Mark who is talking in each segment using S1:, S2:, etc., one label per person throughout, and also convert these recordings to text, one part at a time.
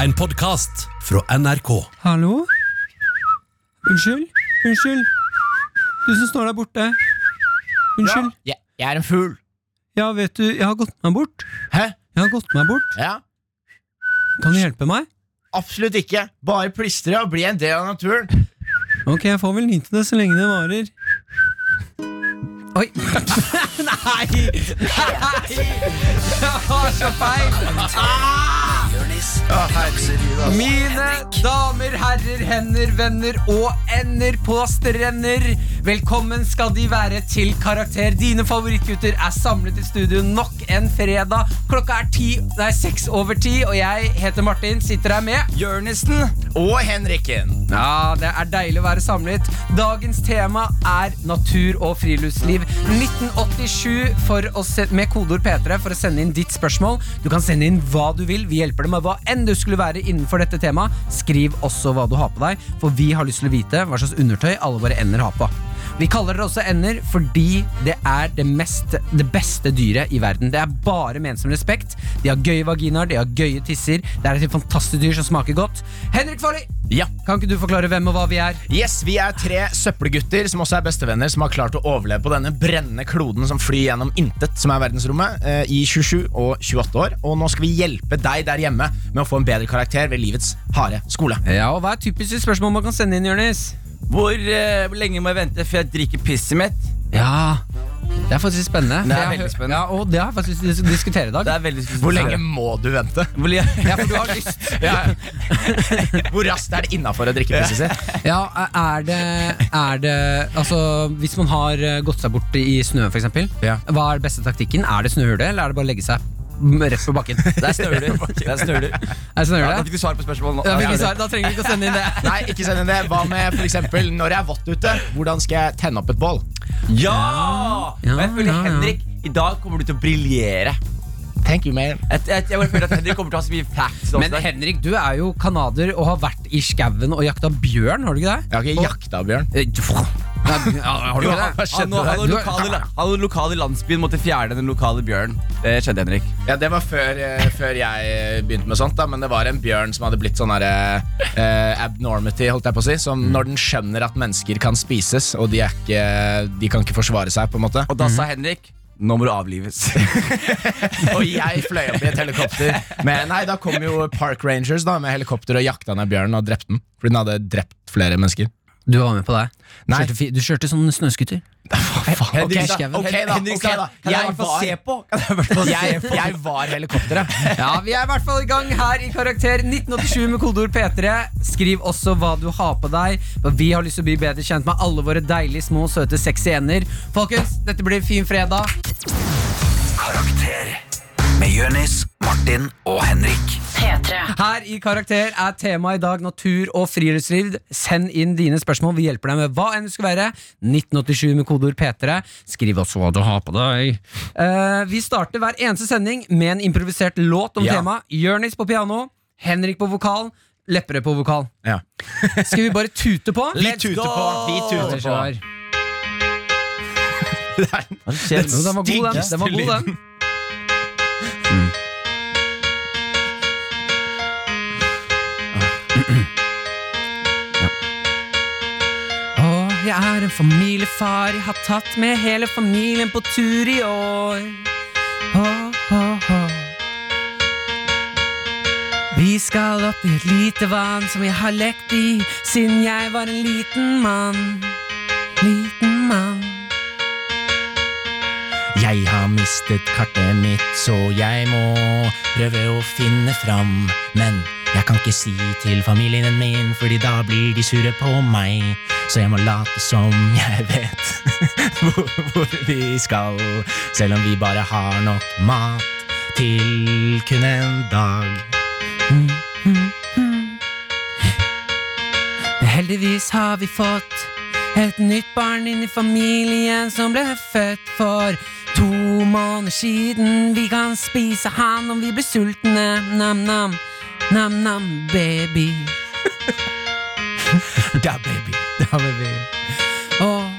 S1: En podkast fra NRK.
S2: Hallo? Unnskyld? Unnskyld? Du som står der borte. Unnskyld.
S3: Jeg, jeg er en fugl.
S2: Ja, vet du, jeg har gått meg bort.
S3: Hæ?
S2: Jeg har gått meg bort.
S3: Ja.
S2: Kan du hjelpe meg?
S3: Absolutt ikke. Bare plystre og bli en del av naturen.
S2: Ok, jeg får vel nyte det så lenge det varer. Oi. Nei! Nei! Jeg har så feil! Mine damer, herrer, hender, venner og ender på strender. Velkommen skal de være til Karakter. Dine favorittgutter er samlet i studio nok en fredag. Klokka er ti, nei, seks over ti, og jeg heter Martin. Sitter her med Jørnisten.
S3: Og Henrikken.
S2: Ja, det er deilig å være samlet. Dagens tema er natur og friluftsliv. 1987 for å se, med kodeord P3 for å sende inn ditt spørsmål. Du kan sende inn hva du vil. Vi hjelper deg med hva enn du skulle være innenfor dette temaet. Skriv også hva du har på deg, for vi har lyst til å vite hva slags undertøy alle våre ender har på. Vi kaller det også ender fordi det er det, mest, det beste dyret i verden. Det er bare ment som respekt. De har gøye vaginaer, de har gøye tisser. Det er et fantastisk dyr som smaker godt. Henrik Farley!
S3: Ja.
S2: Kan ikke du forklare hvem og hva vi er?
S3: Yes, Vi er tre søppelgutter som også er bestevenner, som har klart å overleve på denne brennende kloden som flyr gjennom intet, som er verdensrommet, eh, i 27 og 28 år. Og nå skal vi hjelpe deg der hjemme med å få en bedre karakter ved livets harde skole.
S2: Ja, og Hva er typiske spørsmål man kan sende inn, Jonis?
S4: Hvor, eh, hvor lenge må jeg vente før jeg drikker pisset mitt?
S2: Ja, det er faktisk spennende.
S4: Det er
S2: Jeg har-
S4: veldig spennende.
S2: Ja, og det har jeg faktisk lyst til å diskutere i dag.
S4: Det er veldig
S3: Hvor lenge må du vente?
S4: Hvor lenge?
S2: Ja, for du har lyst.
S3: Hvor raskt er det innafor å drikke pisset sitt?
S2: Ja, er det, er det Altså, hvis man har eh, gått seg bort i snøen, f.eks.,
S3: Ja.
S2: hva er beste taktikken? Er det snøhule, eller er det bare å legge seg m- rett på bakken?
S4: Det er snøler. Det er snøler.
S2: Er det
S4: Ja, da
S2: snøhule?
S4: fikk du svar på spørsmålet nå.
S2: Da fikk vi svar. Da trenger vi ikke å sende inn det.
S3: Nei, ikke send inn det. Hva med f.eks. når det er vått ute? Hvordan skal jeg tenne opp et bål?
S4: Ja!
S2: Ja,
S4: Og jeg føler
S2: ja, ja.
S4: Henrik, i dag kommer du til å briljere.
S3: Thank you, man.
S4: Jeg, jeg, jeg bare føler at Henrik kommer til å ha så mye facts. nå
S2: Men
S4: også.
S2: Henrik, du er jo canadier og har vært i skauen og jakta bjørn, har du ikke det?
S3: Jeg har ikke jakta, Bjørn.
S2: Eh, Ja, har du
S3: Jo,
S2: ikke det?
S3: hva
S4: han,
S3: skjedde
S4: han, han,
S3: der?
S2: Du-
S4: lokale, la- han lokale landsbyen måtte fjerne den lokale bjørnen. Det skjedde, Henrik.
S3: Ja, Det var før, eh, før jeg eh, begynte med sånt, da men det var en bjørn som hadde blitt sånn herre eh, abnormity, holdt jeg på å si. Som når den skjønner at mennesker kan spises, og de, er ikke, de kan ikke forsvare seg, på en måte.
S4: Og da sa Henrik nå må du avlives.
S3: Og jeg fløy opp i et helikopter. Men nei, da kom jo Park Rangers da med helikopter og jakta ned bjørnen og drepte den. Fordi den hadde drept flere mennesker.
S2: Du var med på det?
S3: Nei.
S2: Kjørte, fi- du kjørte sånn snøskuter?
S3: Ok,
S2: Henrik
S3: da,
S2: Skavlan.
S3: ok da,
S4: Henrik
S3: ok
S4: sa,
S3: da.
S4: Kan jeg
S3: Jeg
S4: få se
S3: var,
S4: på? Kan jeg bare få se
S3: jeg,
S4: på?
S3: jeg var helikopteret.
S2: Ja, vi er i hvert fall i gang her i Karakter 1987 med kodeord P3. Skriv også hva du har på deg, for vi har lyst til å bli bedre kjent med alle våre deilige, små, søte, sexy ender. Folkens, dette blir en fin fredag.
S5: Karakter med Jonis, Martin og Henrik.
S2: Her i Karakter er temaet i dag natur og friluftsliv. Send inn dine spørsmål. Vi hjelper deg med hva enn det skulle være. 1987 med kodeord P3. Skriv også hva du har på deg. Eh, vi starter hver eneste sending med en improvisert låt om
S3: Ja.
S2: temaet. Jørnis på piano, Henrik på vokal, Lepperød på vokal.
S3: Ja.
S2: Skal vi bare tute på?
S3: Vi tuter på. Vi tuter på. Det er den
S4: Hva skjer
S2: Jo, den var god, den.
S3: styggeste
S2: den, var god, den. Mm. Å, Jeg er en familiefar, jeg har tatt med hele familien på tur i år. Å, å, å. Vi skal opp i et lite vann som jeg har lekt i siden jeg var en liten mann. Liten mann.
S3: Jeg har mistet kartet mitt, så jeg må prøve å finne fram. Men jeg kan ikke si til familien min, fordi da blir de sure på meg. Så jeg må late som jeg vet hvor, hvor vi skal, selv om vi bare har nok mat til kun en dag.
S2: Heldigvis har vi fått et nytt barn inn i familien som ble født for to måneder siden. Vi kan spise han om vi blir sultne. Nam-nam, nam-nam, baby.
S3: Da, baby.
S2: Og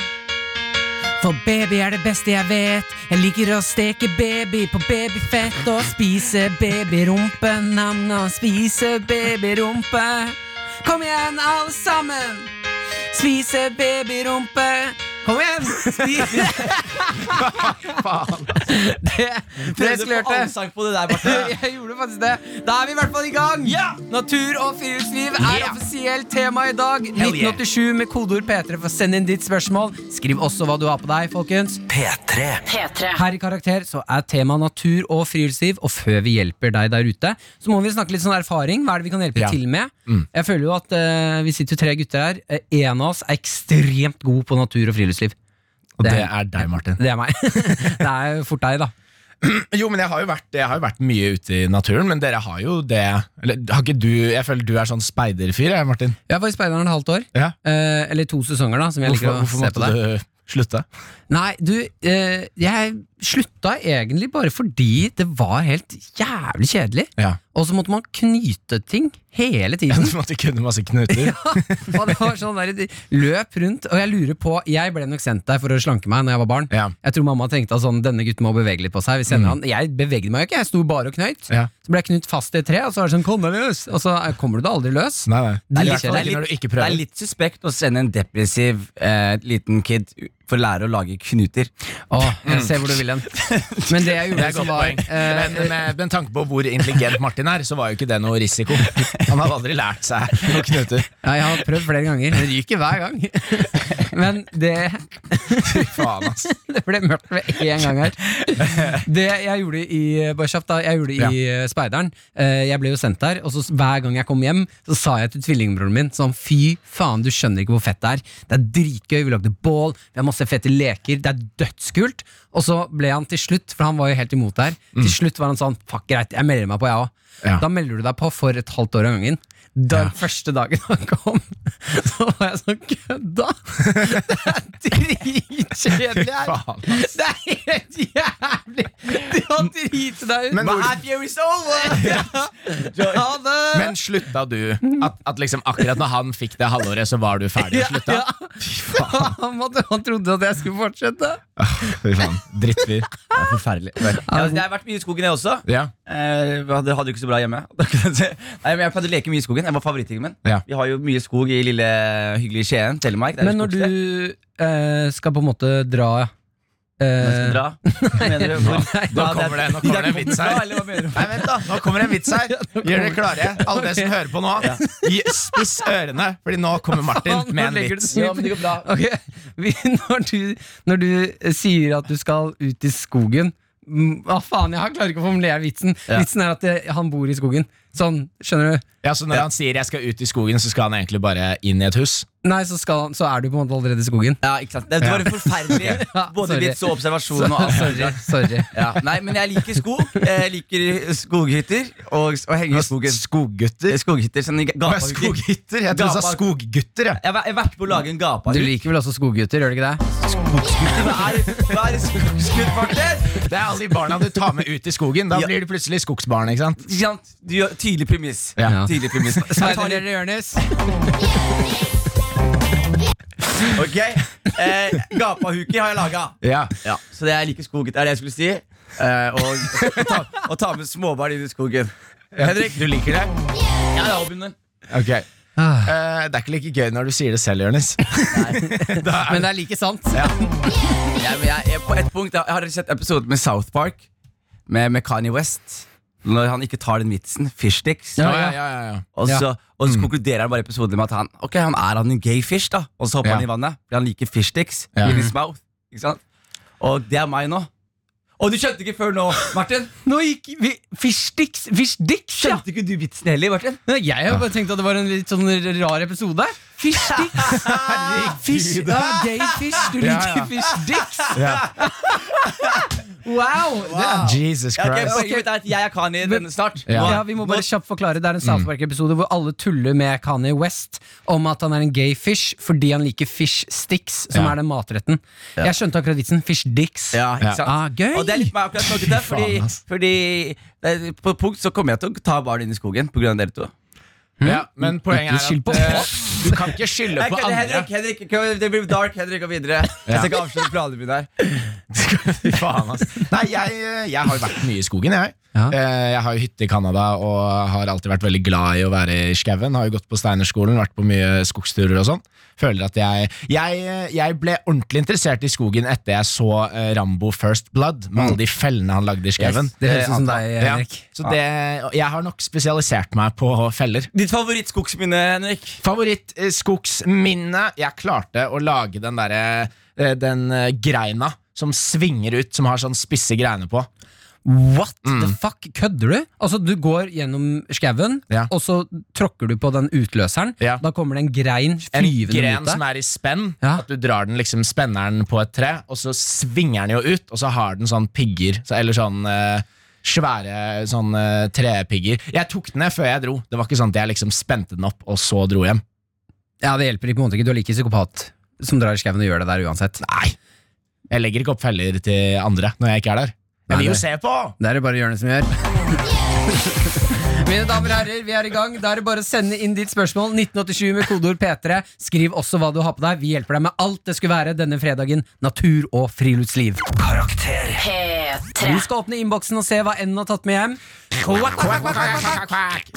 S6: For baby er det beste jeg vet. Jeg liker å steke baby på babyfett og spise babyrumpe. Nam-nam, spise babyrumpe. Kom igjen, alle sammen! Spise babyrumpe. Kom igjen! Spise Det, det
S2: skulle
S4: Prøvde på
S2: jeg gjort det.
S4: allsang på det der, Marte.
S2: Jeg gjorde faktisk det. Da er vi i hvert fall i gang! Natur og friluftsliv er offisielt tema i dag. 1987 med kodeord P3 for å sende inn ditt spørsmål. Skriv også hva du har på deg, folkens.
S7: P3
S8: P3.
S2: Her i Karakter så er tema natur og friluftsliv, og før vi hjelper deg der ute, så må vi snakke litt sånn erfaring. Hva er det vi kan hjelpe
S3: Ja.
S2: til med? Jeg føler jo at eh, vi sitter jo tre gutter her. Eh, En av oss er ekstremt god på natur og friluftsliv.
S3: Og
S2: Det-
S3: det er deg, Martin.
S2: Det er meg. det er jo fort deg, da.
S3: Jo, men jeg har jo vært, jeg har jo vært mye ute i naturen, men dere har jo det Eller har ikke du Jeg føler du er sånn speiderfyr, jeg, Martin.
S2: Jeg var i Speideren et halvt år.
S3: Ja.
S2: eh, eller to sesonger, da, som jeg
S3: Hvorfor,
S2: liker å
S3: hvorfor
S2: se på
S3: måtte
S2: deg.
S3: du slutte?
S2: Nei, du, eh, jeg slutta egentlig bare fordi det var helt jævlig kjedelig.
S3: Ja.
S2: Og så måtte man knyte ting hele tiden.
S3: Du altså måtte kunne masse knuter?
S2: og det var sånn der, de løp rundt, og jeg lurer på Jeg ble nok sendt der for å slanke meg når jeg var barn.
S3: Ja. Mm.
S2: Jeg tror mamma tenkte at sånn, denne gutten må bevege litt på seg. Vi sender han. Jeg bevegde meg jo ikke, jeg sto bare og knøyt.
S3: Ja.
S2: Så ble jeg knut fast i et tre, og så var det sånn 'kom deg løs', og så eh, kommer du deg aldri løs.
S3: Nei, nei.
S2: Det er litt-
S3: I hvert fall
S2: det er
S3: ikke
S4: litt-
S3: når du ikke
S4: Det
S3: prøver.
S4: er litt suspekt å sende en depressiv eh, liten kid for å lære å lage knuter.
S2: Åh, jeg ser hvor du vil hen. Men det jeg
S3: Det er
S2: gjorde,
S3: et
S2: som
S3: godt
S2: var
S3: poeng.
S2: eh,
S3: Men med, med tanke på hvor intelligent Martin er, så var jo ikke det noe risiko. Han hadde aldri lært seg noen knuter.
S2: ja, Jeg har prøvd flere ganger. Det ryker hver gang. Men det
S3: Fy faen, ass.
S2: Det ble mørkt med en gang her. Det jeg gjorde i bare kjapt da, jeg gjorde i eh, Speideren eh, Jeg ble jo sendt der, og så s- hver gang jeg kom hjem, så sa jeg til tvillingbroren min sånn Fy faen, du skjønner ikke hvor fett det er. Det er dritgøy, vi lagde bål, vi har masse fete leker, det er dødskult. Og så ble han til slutt, for han var jo helt imot det her, til slutt var han sånn Fuck, greit, jeg melder meg på, jeg òg.
S3: Ja.
S2: Da melder du deg på for et halvt år av gangen. Den første dagen han kom, så var jeg sånn kødda! Det er dritkjedelig her!
S3: Faen.
S2: Det er helt jævlig! Du har driti deg ut.
S3: Men hvor-
S2: year is over! Ja. Ha det!
S3: Men slutta du? At, at liksom akkurat når han fikk det halvåret, så var du ferdig og slutta?
S2: Ja. Han, måtte, han trodde at jeg skulle fortsette.
S3: Fy faen. Drittfyr.
S4: Det er forferdelig. Ja, jeg har vært mye i skogen, jeg også.
S3: Ja.
S4: Eh, vi hadde, hadde det ikke så bra hjemme. Nei, men Jeg pleide å leke mye i skogen. Jeg var favorittingen min.
S3: Ja.
S4: Vi har jo mye skog i lille hyggelige Skien, Telemark. Det er
S2: Men
S4: jo
S2: når du
S4: skogsted.
S2: eh, skal på en måte dra
S4: Når jeg
S2: eh,
S4: skal dra, mener du, hvor,
S3: Nå kommer det, nå kommer det en vits her.
S4: Eller hva mener du?
S3: Nei, vent da, Nå kommer det en vits her. Gjør dere klare, alle dere som hører på nå. Gi- Spiss ørene, Fordi nå kommer Martin
S2: Faen, nå
S3: med en
S2: legger
S3: vits.
S2: du-
S4: Ja, men det går bra.
S2: Ok, vi, når, du, når du sier at du skal ut i skogen mm, Hva faen, jeg har- klarer ikke å formulere vitsen.
S4: Ja.
S2: Vitsen er at eh, han bor i skogen. Sånn, skjønner du?
S3: Ja, så Når han sier 'jeg skal ut i skogen', så skal han egentlig bare inn i et hus?
S2: Nei, så, skal, han- så er du på en måte allerede i skogen.
S4: Ja, ikke sant? Det var en forferdelig
S2: Ja,
S4: både
S2: sorry.
S4: vits og observasjon. Og alt.
S2: Sorry. sorry.
S4: Ja, nei, men jeg liker skog. Jeg liker skoghytter og, og henge i skogen.
S3: Skoggutter?
S4: Skoghytter, sånn
S3: Hva er
S4: gapahytter.
S3: skoghytter? Jeg trodde du sa
S4: Gapa-
S3: skoggutter. jeg.
S4: Jeg har væ- jeg har vært på å lage en
S2: Du
S4: gapahytte.
S2: liker vel også skoggutter, gjør du ikke det?
S4: Hva er, hva er skog- skuddfarter?
S3: Det er alle de barna du tar med ut i skogen. Da
S4: Ja.
S3: blir du plutselig skogsbarn. ikke sant?
S4: Ikke sant? Du gjør tydelig premiss.
S2: Ja.
S4: Tydelig premiss. Jeg tar det.
S2: Speiderleder Jonis.
S4: Ok, eh, Gapahuker har jeg laga.
S3: Ja.
S4: Ja, så det er like skoget. Det er det jeg skulle si. Eh, og, og, ta, og ta med småbarn inn i skogen.
S3: Henrik, du liker det?
S4: Ja, det er hobbyen min.
S3: Ok Eh, Det er ikke like gøy når du sier det selv, Jonis. Da er-
S2: Men det er like sant.
S4: Jeg, men jeg, jeg, på et punkt, jeg har sett episoden med South Park, med, med Kanye West. Når han ikke tar den vitsen. Fishsticks.
S3: Ja, ja, ja, ja, Mm. ja.
S4: Og så, og så konkluderer han bare episoden med at han Ok, han er han en gay fish, da. Og så hopper
S3: Ja.
S4: han i vannet, for han liker fishsticks
S3: Ja. Mm.
S4: in his mouth. Ikke sant? Og det er meg nå. Og du skjønte ikke før nå, Martin!
S2: Nå gikk vi Fishsticks! Fishsticks, ja!
S4: Skjønte ikke du vitsen heller, Martin?
S2: Men Jeg har bare tenkt at det var en litt sånn rar episode. Fishsticks! Fish, ja, gay fish. Du
S3: Ja,
S2: liker
S3: ja.
S2: fishdicks.
S3: Ja.
S2: Wow! Det er
S3: Jesus
S4: Ja, ok,
S3: Christ.
S4: Poenget mitt er at jeg er Kanye denne snart.
S3: Ja.
S2: Ja, vi må bare kjapt forklare Det er en South Park-episode hvor alle tuller med Kanye West om at han er en gay fish fordi han liker fish sticks, som
S3: Ja.
S2: er den matretten. Jeg skjønte akkurat vitsen. Fish dicks.
S4: Ja, ikke
S3: Ja.
S4: sant?
S2: Ah, gøy!
S4: Og det er litt meg akkurat snakket der, fordi,
S3: Fy faen, ass.
S4: fordi eh, på et punkt så kommer jeg til å ta barn inn i skogen pga. dere to.
S3: Ja, men poenget er
S2: skyld på
S3: at eh, du kan ikke skylde
S4: Jeg
S3: på andre.
S4: kødder, Henrik, Henrik, kø- det blir dark, Henrik, og videre. Jeg skal ikke avsløre planene mine her.
S3: Fy faen, ass. Nei, jeg, eh, jeg har jo vært mye i skogen, jeg.
S2: Ja.
S3: Eh, Jeg har jo hytte i Canada og har alltid vært veldig glad i å være i skauen. Har jo gått på Steinerskolen, vært på mye skogsturer og sånn. Føler at jeg, jeg eh, Jeg ble ordentlig interessert i skogen etter jeg så eh, Rambo First Blood, med alle de fellene han lagde i skauen.
S2: Mm. det høres ut som deg, Henrik.
S3: Ja, så det, og jeg har nok spesialisert meg på feller.
S4: Ditt favorittskogsminne, Henrik?
S3: Favorittskogsminne Jeg klarte å lage den derre eh, Den eh, greina som svinger ut, som har sånn spisse greiner på.
S2: What the
S3: Mm.
S2: fuck? Kødder du? Altså, du går gjennom skauen,
S3: Ja.
S2: og så tråkker du på den utløseren.
S3: Ja.
S2: Da kommer det en grein
S3: En
S2: flyvende
S3: gren
S2: mot
S3: som
S2: deg.
S3: er i spenn.
S2: Ja.
S3: At du drar den liksom spenneren på et tre, og så svinger den jo ut, og så har den sånn pigger. Så, eller sånn eh, svære sånn eh, trepigger. Jeg tok den ned før jeg dro. Det var ikke sånn at jeg liksom spente den opp, og så dro hjem.
S2: Ja, det hjelper ikke, på en måte ikke. Du er like psykopat som drar i skauen og gjør det der uansett.
S3: Nei! Jeg legger ikke opp feller til andre når jeg ikke er der. Jeg vil
S2: Nei,
S3: jo se på!
S2: Det er det bare Jørnes som gjør. Mine damer og herrer, vi er i gang. Da er det bare å sende inn ditt spørsmål. 1987 med kodeord P3. Skriv også hva du har på deg. Vi hjelper deg med alt det skulle være denne fredagen. Natur og friluftsliv.
S9: Karakter.
S2: Du
S10: P3.
S2: skal åpne innboksen og se hva N har tatt med hjem.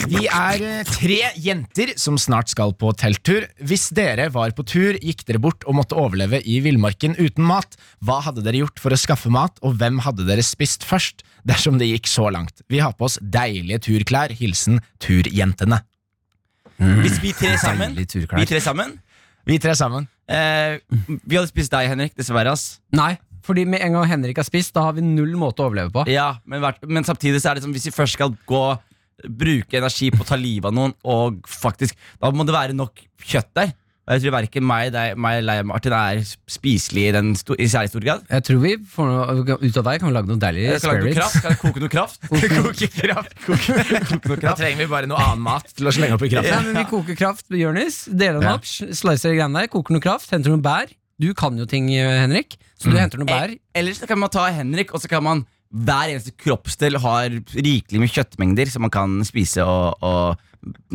S3: Vi er eh, tre jenter som snart skal på telttur. Hvis dere var på tur, gikk dere bort og måtte overleve i villmarken uten mat. Hva hadde dere gjort for å skaffe mat, og hvem hadde dere spist først? Dersom det gikk så langt. Vi har på oss deilige turklær. Hilsen turjentene. Mm.
S4: Hvis vi tre sammen
S2: Deilig turklær.
S4: Vi tre sammen
S3: Vi tre sammen.
S4: eh, Vi hadde spist deg, Henrik, dessverre. ass
S2: Nei, fordi med en gang Henrik har spist, da har vi null måte å overleve på.
S4: Ja, men, hvert- men samtidig så er det som hvis vi først skal gå bruke energi på å ta livet av noen, og faktisk Da må det være nok kjøtt der. Og jeg tror verken meg, deg, meg eller Martin er spiselig i, den sto, i særlig stor grad.
S2: Jeg tror vi får noe, ut av deg kan vi lage noen deilige
S4: Jeg skal lage noe
S2: spirits.
S4: kraft, kan jeg koke noe kraft? koke kraft. koke, koke noe
S3: Da
S4: kraft.
S3: trenger vi bare noe annen mat til å slenge opp i
S2: Nei,
S3: kraften.
S2: men Vi koker kraft, Jonis. Deler den
S3: Ja.
S2: opp, slicer de greiene der, koker noe kraft, henter noen bær. Du kan jo ting, eh, Henrik, så du
S3: Mm.
S2: henter noen
S3: Eh,
S2: bær.
S4: Ellers så kan man ta Henrik, og så kan man hver eneste kroppsdel har rikelig med kjøttmengder som man kan spise og, og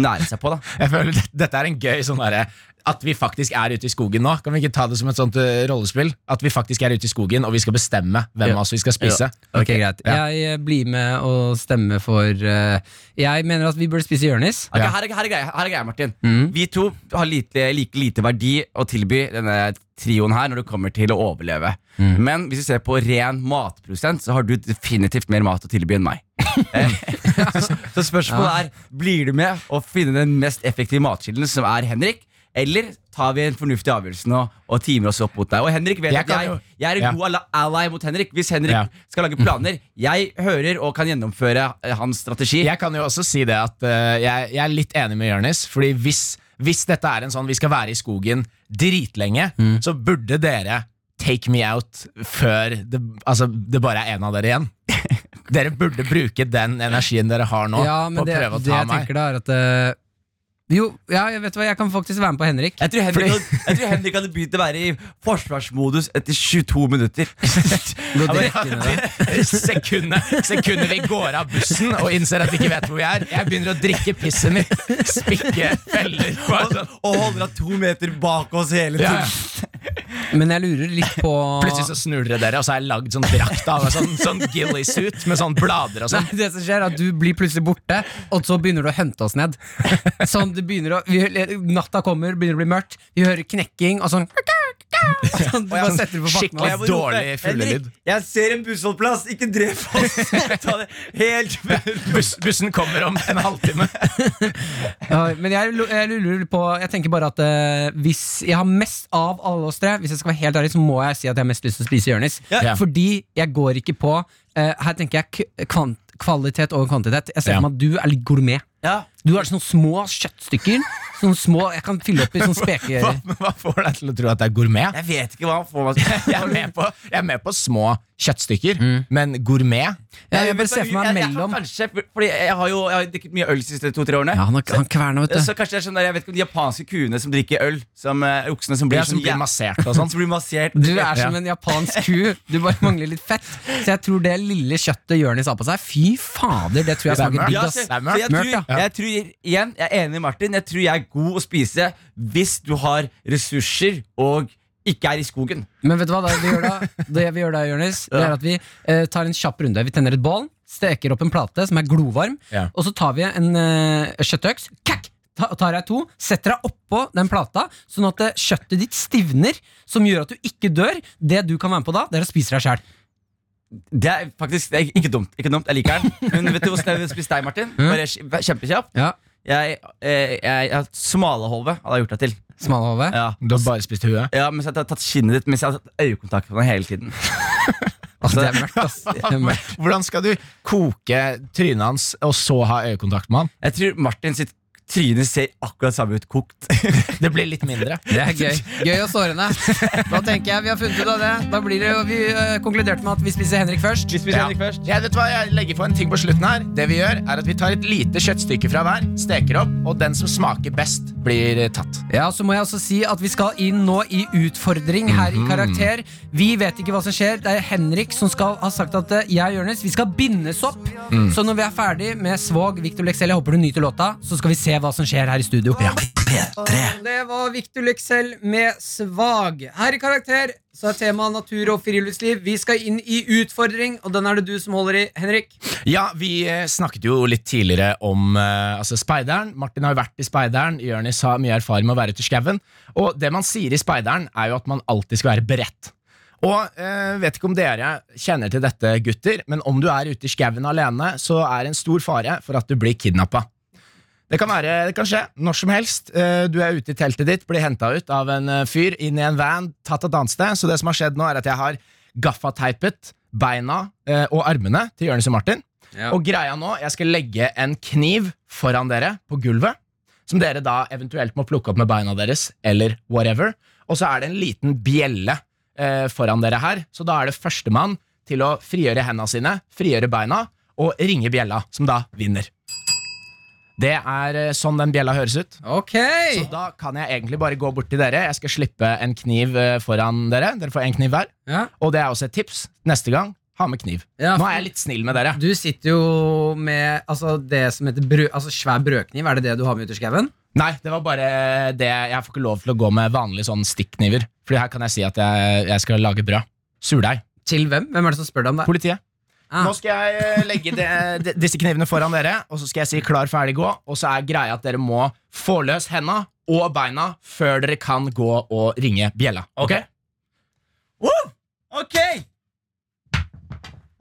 S4: nære seg på. da
S3: Jeg føler det- Dette er en gøy sånn derre at vi faktisk er ute i skogen nå. Kan vi ikke ta det som et sånt eh, rollespill? At vi faktisk er ute i skogen, og vi skal bestemme hvem
S2: Ja.
S3: av oss vi skal spise.
S2: Ok, greit
S3: Ja.
S2: Jeg eh, blir med og stemmer for eh, Jeg mener at vi burde spise Jonis.
S4: Ok,
S3: Ja. Mm.
S4: her, er- her er greia, her er greia Martin. Vi to har lite, like lite verdi å tilby denne trioen her når det kommer til å overleve.
S3: Mm.
S4: Men hvis vi ser på ren matprosent, så har du definitivt mer mat å tilby enn meg. Eh, så, så spørsmålet er blir du med å finne den mest effektive matkilden, som er Henrik. Eller tar vi en fornuftig avgjørelse nå og timer oss opp mot deg? Og Henrik vet
S3: Jeg
S4: at
S3: kan
S4: jeg,
S3: jo-
S4: jeg er en
S3: Ja.
S4: god alla- ally mot Henrik hvis Henrik
S3: Ja.
S4: skal lage planer. Jeg hører og kan gjennomføre eh, hans strategi.
S3: Jeg kan jo også si det at eh, jeg, jeg er litt enig med Jørnis. Fordi hvis, hvis dette er en sånn vi skal være i skogen dritlenge,
S2: Mm.
S3: så burde dere take me out før det, altså, det bare er én av dere igjen. Dere burde bruke den energien dere har nå,
S2: Ja, men
S3: på å
S2: det,
S3: prøve å
S2: det
S3: ta
S2: jeg
S3: meg.
S2: tenker da, er at eh, Jo, ja, jeg vet hva, jeg kan faktisk være med på Henrik.
S4: Jeg tror, Henrik hadde, jeg tror Henrik hadde begynt å være i forsvarsmodus etter 22 minutter.
S2: Gå direkte inn i det.
S3: Sekundet, sekundet vi går av bussen og innser at vi ikke vet hvor vi er, jeg begynner å drikke pisset mitt. Spikke feller. sånn-
S4: og, og holder deg to meter bak oss hele
S3: Ja,
S4: tiden.
S3: ja.
S2: Men jeg lurer litt på
S3: Plutselig så snur dere dere, og så er jeg lagd sånn drakt av meg, sånn, sånn ghillie-suit med sånn blader og
S2: Nei,
S3: sånn.
S2: det som skjer er at Du blir plutselig borte, og så begynner du å hunte oss ned. Sånn, det begynner å, vi, Natta kommer, begynner å bli mørkt, vi hører knekking og sånn. sånn du bare setter det på bakken.
S3: skikkelig
S2: hans.
S4: Jeg bare roper,
S3: Dårlig fuglelyd.
S4: Henrik, Jeg ser en bussholdeplass, ikke drep oss! Ta det helt
S3: Bus, bussen kommer om en halvtime.
S2: Ja, Men jeg, lu- jeg lurer på Jeg tenker bare at eh, hvis jeg har mest av alle oss tre, hvis jeg skal være helt ærlig, så må jeg si at jeg har mest lyst til å spise Jonis.
S3: Ja.
S2: Fordi jeg går ikke på eh, Her tenker jeg k- kvant, kvalitet over kvantitet. Jeg ser
S3: Ja.
S2: for meg at du er litt gourmet.
S4: Ja.
S2: Du har sånne små kjøttstykker. Sånne små, Jeg kan fylle opp i sånn speke...
S3: Hva, hva får deg til å tro at det er gourmet?
S4: Jeg vet ikke hva han får meg
S3: Jeg er med på, jeg er med på små kjøttstykker, men gourmet.
S2: Jeg vil
S4: vet
S2: bare
S4: du,
S2: se for meg
S4: jeg- jeg tror
S2: mellom
S4: Kanskje, fordi jeg har jo jeg har drikket mye øl de siste to-tre årene.
S2: Ja, han, har- han kverner, vet du.
S4: Så kanskje det er sånn der, jeg vet ikke om de japanske kuene som drikker øl, som eh, oksene som blir,
S3: Ja, som
S4: sånn
S3: blir
S4: jæ-
S3: massert og sånn.
S4: som blir massert.
S2: Du er som en japansk ku. Du bare mangler litt fett. Så jeg tror det lille kjøttet Jonis har på seg Fy fader, det tror jeg
S3: Det er
S2: smaker
S3: mørkt.
S2: digg,
S4: Ja,
S2: ass.
S4: så,
S3: Det er
S4: så jeg,
S2: mørkt,
S4: tror,
S2: ja.
S4: jeg tror igjen, jeg er enig med Martin. Jeg tror jeg er god å spise hvis du har ressurser og ikke er i skogen.
S2: Men vet du hva det vi gjør da, det vi gjør da Jonis, det er at vi eh, tar en kjapp runde. Vi tenner et bål, steker opp en plate som er glovarm,
S3: Ja.
S2: og så tar vi en eh, kjøttøks. Kakk! Ta, tar jeg to, setter deg oppå den plata, sånn at eh, kjøttet ditt stivner, som gjør at du ikke dør. Det du kan være med på da, det er å spise deg sjæl.
S4: Det er faktisk det er ikke dumt. Ikke dumt, Jeg liker den. Men vet du hvordan jeg vil spise deg, Martin? Bare kj- Kjempekjapt.
S2: Ja.
S4: Jeg, eh, jeg, jeg har smalahove hadde jeg gjort deg til.
S2: Smalahove.
S4: Ja.
S3: Du har bare spist huet.
S4: ja, Mens jeg har tatt kinnet ditt mens jeg har tatt øyekontakt med deg hele tiden.
S2: Altså, det er mørkt, ass. Det er mørkt.
S3: Hvordan skal du koke trynet hans og så ha øyekontakt med han?
S4: Jeg tror Martin sitt tryne ser akkurat samme ut kokt.
S3: Det blir litt mindre.
S2: Det er gøy. Gøy og sårende. Da tenker jeg vi har funnet ut av det. Da blir det jo, Vi eh, konkluderte med at vi spiser Henrik først.
S4: Vi spiser Henrik først.
S3: Ja, vet du hva, Jeg legger på en ting på slutten her. Det Vi gjør er at vi tar et lite kjøttstykke fra hver, steker opp, og den som smaker best, blir eh, tatt.
S2: Ja, så må jeg også si at Vi skal inn nå i utfordring her i Karakter. Vi vet ikke hva som skjer. Det er Henrik som skal ha sagt at eh, jeg og Jonis vi skal bindes opp. Så når vi er ferdig med Svåg, Victor Lexell, jeg håper du nyter låta, så skal vi se hva som skjer her i studio. Det var Victor Lexell med Svag. Her i Karakter så er temaet natur og friluftsliv. Vi skal inn i utfordring, og den er det du som holder i, Henrik.
S3: Ja, Vi eh, snakket jo litt tidligere om eh, altså speideren. Martin har jo vært i speideren. Jonis har mye erfaring med å være ute i skauen. Og det man sier i speideren, er jo at man alltid skal være beredt. Og eh, vet ikke om dere kjenner til dette, gutter, men om du er ute i skauen alene, så er det en stor fare for at du blir kidnappa. Det kan, være, det kan skje når som helst. Eh, Du er ute i teltet ditt, blir henta ut av en eh, fyr, inn i en van, tatt et annet sted. Så det som har skjedd nå, er at jeg har gaffateipet beina eh, og armene til Jonis og Martin. Og greia nå, jeg skal legge en kniv foran dere på gulvet, som dere da eventuelt må plukke opp med beina deres, eller whatever. Og så er det en liten bjelle eh, foran dere her, så da er det førstemann til å frigjøre hendene sine, frigjøre beina, og ringe bjella, som da vinner. Det er eh, sånn den bjella høres ut.
S2: Ok
S3: Så da kan jeg egentlig bare gå bort til dere. Jeg skal slippe en kniv eh, foran dere. Dere får en kniv hver.
S2: Ja.
S3: Og det er også et tips. Neste gang, ha med kniv.
S2: Ja,
S3: Nå
S2: for-
S3: er jeg litt snill med dere.
S2: Du sitter jo med altså, det som heter brød, altså, svær brødkniv. Er det det du har med ut i skauen?
S3: Nei, det var bare det. Jeg får ikke lov til å gå med vanlige sånn stikkniver. Fordi her kan jeg si at jeg, jeg skal lage brød. Surdeig.
S2: Til hvem? Hvem er det som spør deg om det?
S3: Politiet.
S2: Ah.
S3: Nå skal jeg eh, legge de, de, disse knivene foran dere, og så skal jeg si klar, ferdig, gå. Og så er greia at dere må få løs henda og beina før dere kan gå og ringe bjella. Ok?
S4: Ok!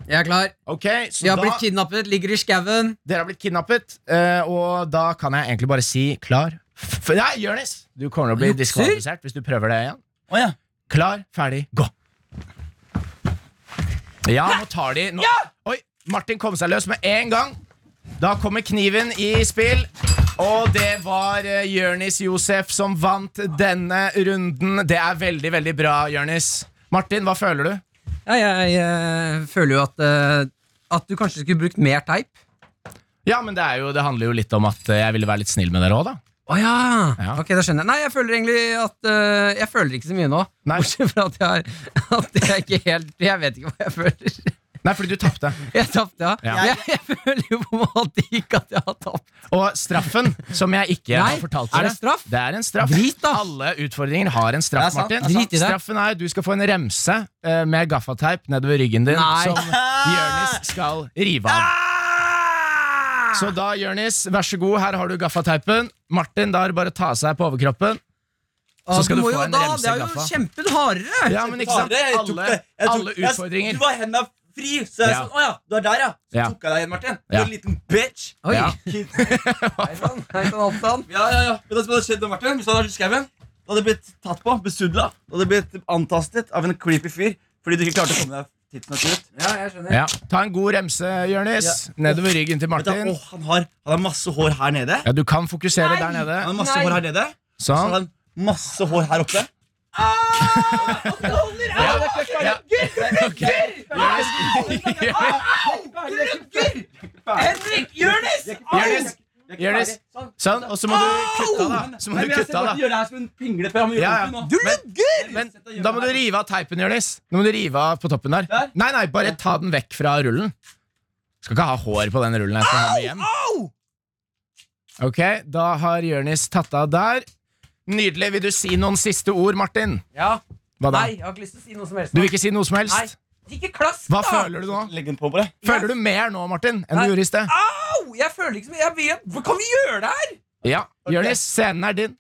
S2: Jeg er klar.
S3: Ok,
S2: Vi
S3: Så
S2: har
S3: da
S2: blitt kidnappet, ligger i skauen.
S3: dere har blitt kidnappet, eh, og da kan jeg egentlig bare si klar f Nei, Jonis! Du kommer til å bli
S2: Jukser?
S3: diskvalifisert hvis du prøver det igjen.
S4: Å ja.
S3: Klar, ferdig, gå. Ja, nå tar de nå. Oi, Martin kom seg løs med en gang. Da kommer kniven i spill. Og det var eh, Jørnis Josef som vant denne runden. Det er veldig, veldig bra, Jørnis. Martin, hva føler du?
S2: Ja, jeg eh, føler jo at eh, At du kanskje skulle brukt mer teip.
S3: Ja, men det, er jo, det handler jo litt om at eh, jeg ville være litt snill med dere òg, da.
S2: Å ja.
S3: Ja.
S2: Ok, da skjønner jeg. Nei, jeg føler egentlig at eh, Jeg føler ikke så mye nå.
S3: Nei.
S2: Bortsett fra at jeg, har, at jeg ikke helt Jeg vet ikke hva jeg føler.
S3: Nei, fordi du tapte.
S2: Jeg tapte, ja.
S3: Ja.
S2: Jeg, jeg føler jo på en måte ikke at jeg har tapt.
S3: Og straffen, som jeg ikke
S2: Nei,
S3: har fortalt
S2: er
S3: dere
S2: det straff?
S3: Det er en straff.
S2: Drit, da.
S3: Alle utfordringer har en
S4: Det
S3: straff,
S4: er sant,
S3: Martin.
S4: det er
S2: sant. Drit i det.
S3: Straffen er du skal få en remse eh, med gaffateip nedover ryggen din
S2: Nei.
S3: som Jørnis skal rive av.
S2: Ah!
S3: Så da, Jørnis, vær så god, her har du gaffateipen. Martin, da er det bare å ta av seg på overkroppen. Så
S2: Ah,
S3: skal du
S2: må
S3: få
S2: jo
S3: en
S2: da,
S3: remse
S2: Det er
S3: i gaffa.
S2: jo kjempehardere!
S3: Ja, men ikke sant?
S4: Jeg tok
S3: Alle,
S4: det. Jeg tok-
S3: alle
S4: jeg-
S3: utfordringer.
S4: Du var henda fri, så jeg
S3: Ja.
S4: sånn, å ja, du er der, ja. Så
S3: Ja.
S4: tok jeg deg igjen, Martin. Du
S3: Ja.
S4: er en liten bitch.
S2: Oi.
S3: Ja.
S2: Hei sann. Hei sann, alt sann.
S4: Ja, ja, ja. Vet du hva som hadde skjedd med Martin? Hvis han hadde vært i skauen, da hadde han blitt tatt på, besudla. Da hadde han blitt antastet av en creepy fyr fordi du ikke klarte å komme deg tidsnok ut.
S2: Ja, jeg skjønner.
S3: Ja. Ta en god remse, Jørnis. Nedover ryggen til
S4: Vet du,
S3: Martin.
S4: åh, han, har, han har masse hår her nede.
S3: Ja, du kan fokusere der nede.
S4: Han har masse
S2: Nei.
S4: hår her nede. Så
S3: Sånn.
S4: har han masse hår her oppe.
S3: Jonis! Jonis! Sånn. Og så må du kutte av, da. Så må du kutte av, da.
S11: gjøre det her som en pingle. for jeg må gjøre
S3: Ja, ja.
S11: ordentlig nå.
S3: Du Men da må du rive av teipen, Jonis. Nå må du rive av på toppen der.
S11: Der?
S3: Nei, nei, bare ta den vekk fra rullen. Skal ikke ha hår på den rullen. Jeg skal ha den igjen. Ok, da har Jonis tatt av der. Nydelig. Vil du si noen siste ord, Martin?
S2: Ja.
S3: Hva da?
S2: Nei, jeg har ikke lyst til å si noe som helst.
S3: Du vil ikke si noe som
S2: Nei.
S3: helst?
S2: Ikke klask,
S3: Hva
S2: da!
S3: føler du nå?
S11: Legg den på bordet.
S3: Føler du mer nå, Martin, enn
S2: Nei.
S3: du gjorde i sted?
S2: Au! Jeg føler ikke som Jeg vet Hva kan vi gjøre det her?
S3: Ja. Jonis, scenen er din.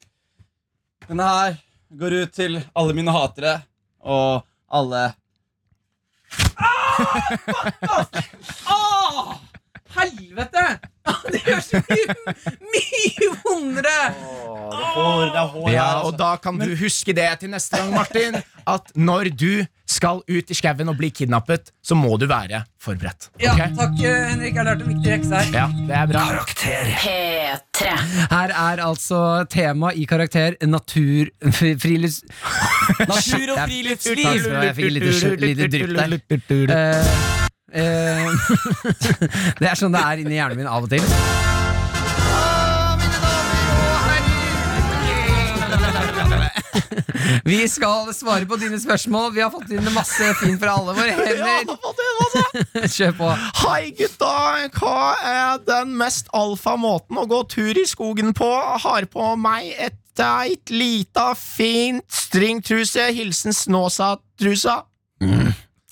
S11: Denne her går ut til alle mine hatere og alle
S2: Helvete! Det gjør så mye, mye vondere!
S11: hår, Det er hår her,
S3: Ja,
S11: altså.
S3: og da kan du huske det til neste gang, Martin. At når du skal ut i skauen og bli kidnappet, så må du være forberedt.
S2: Ja,
S3: ok?
S2: takk, eh, Henrik. Jeg har lært en viktig rekse her.
S3: Ja, det er bra.
S12: P3.
S2: Her er altså tema i karakter natur... fri- Frilufts...
S11: Natur og
S2: Takk
S11: friluftsliv!
S2: skal du ha, jeg fikk et lite, lite drypp der. Eh, eh, det er sånn det er inni hjernen min av og til. Vi skal svare på dine spørsmål. Vi har fått inn masse fint fra alle våre hender. Kjør på.
S3: altså. Hei gutta, hva er den mest alfa måten å gå tur i skogen på? Har på meg et deit, lita, fint stringtruse. Hilsen Snåsa-trusa.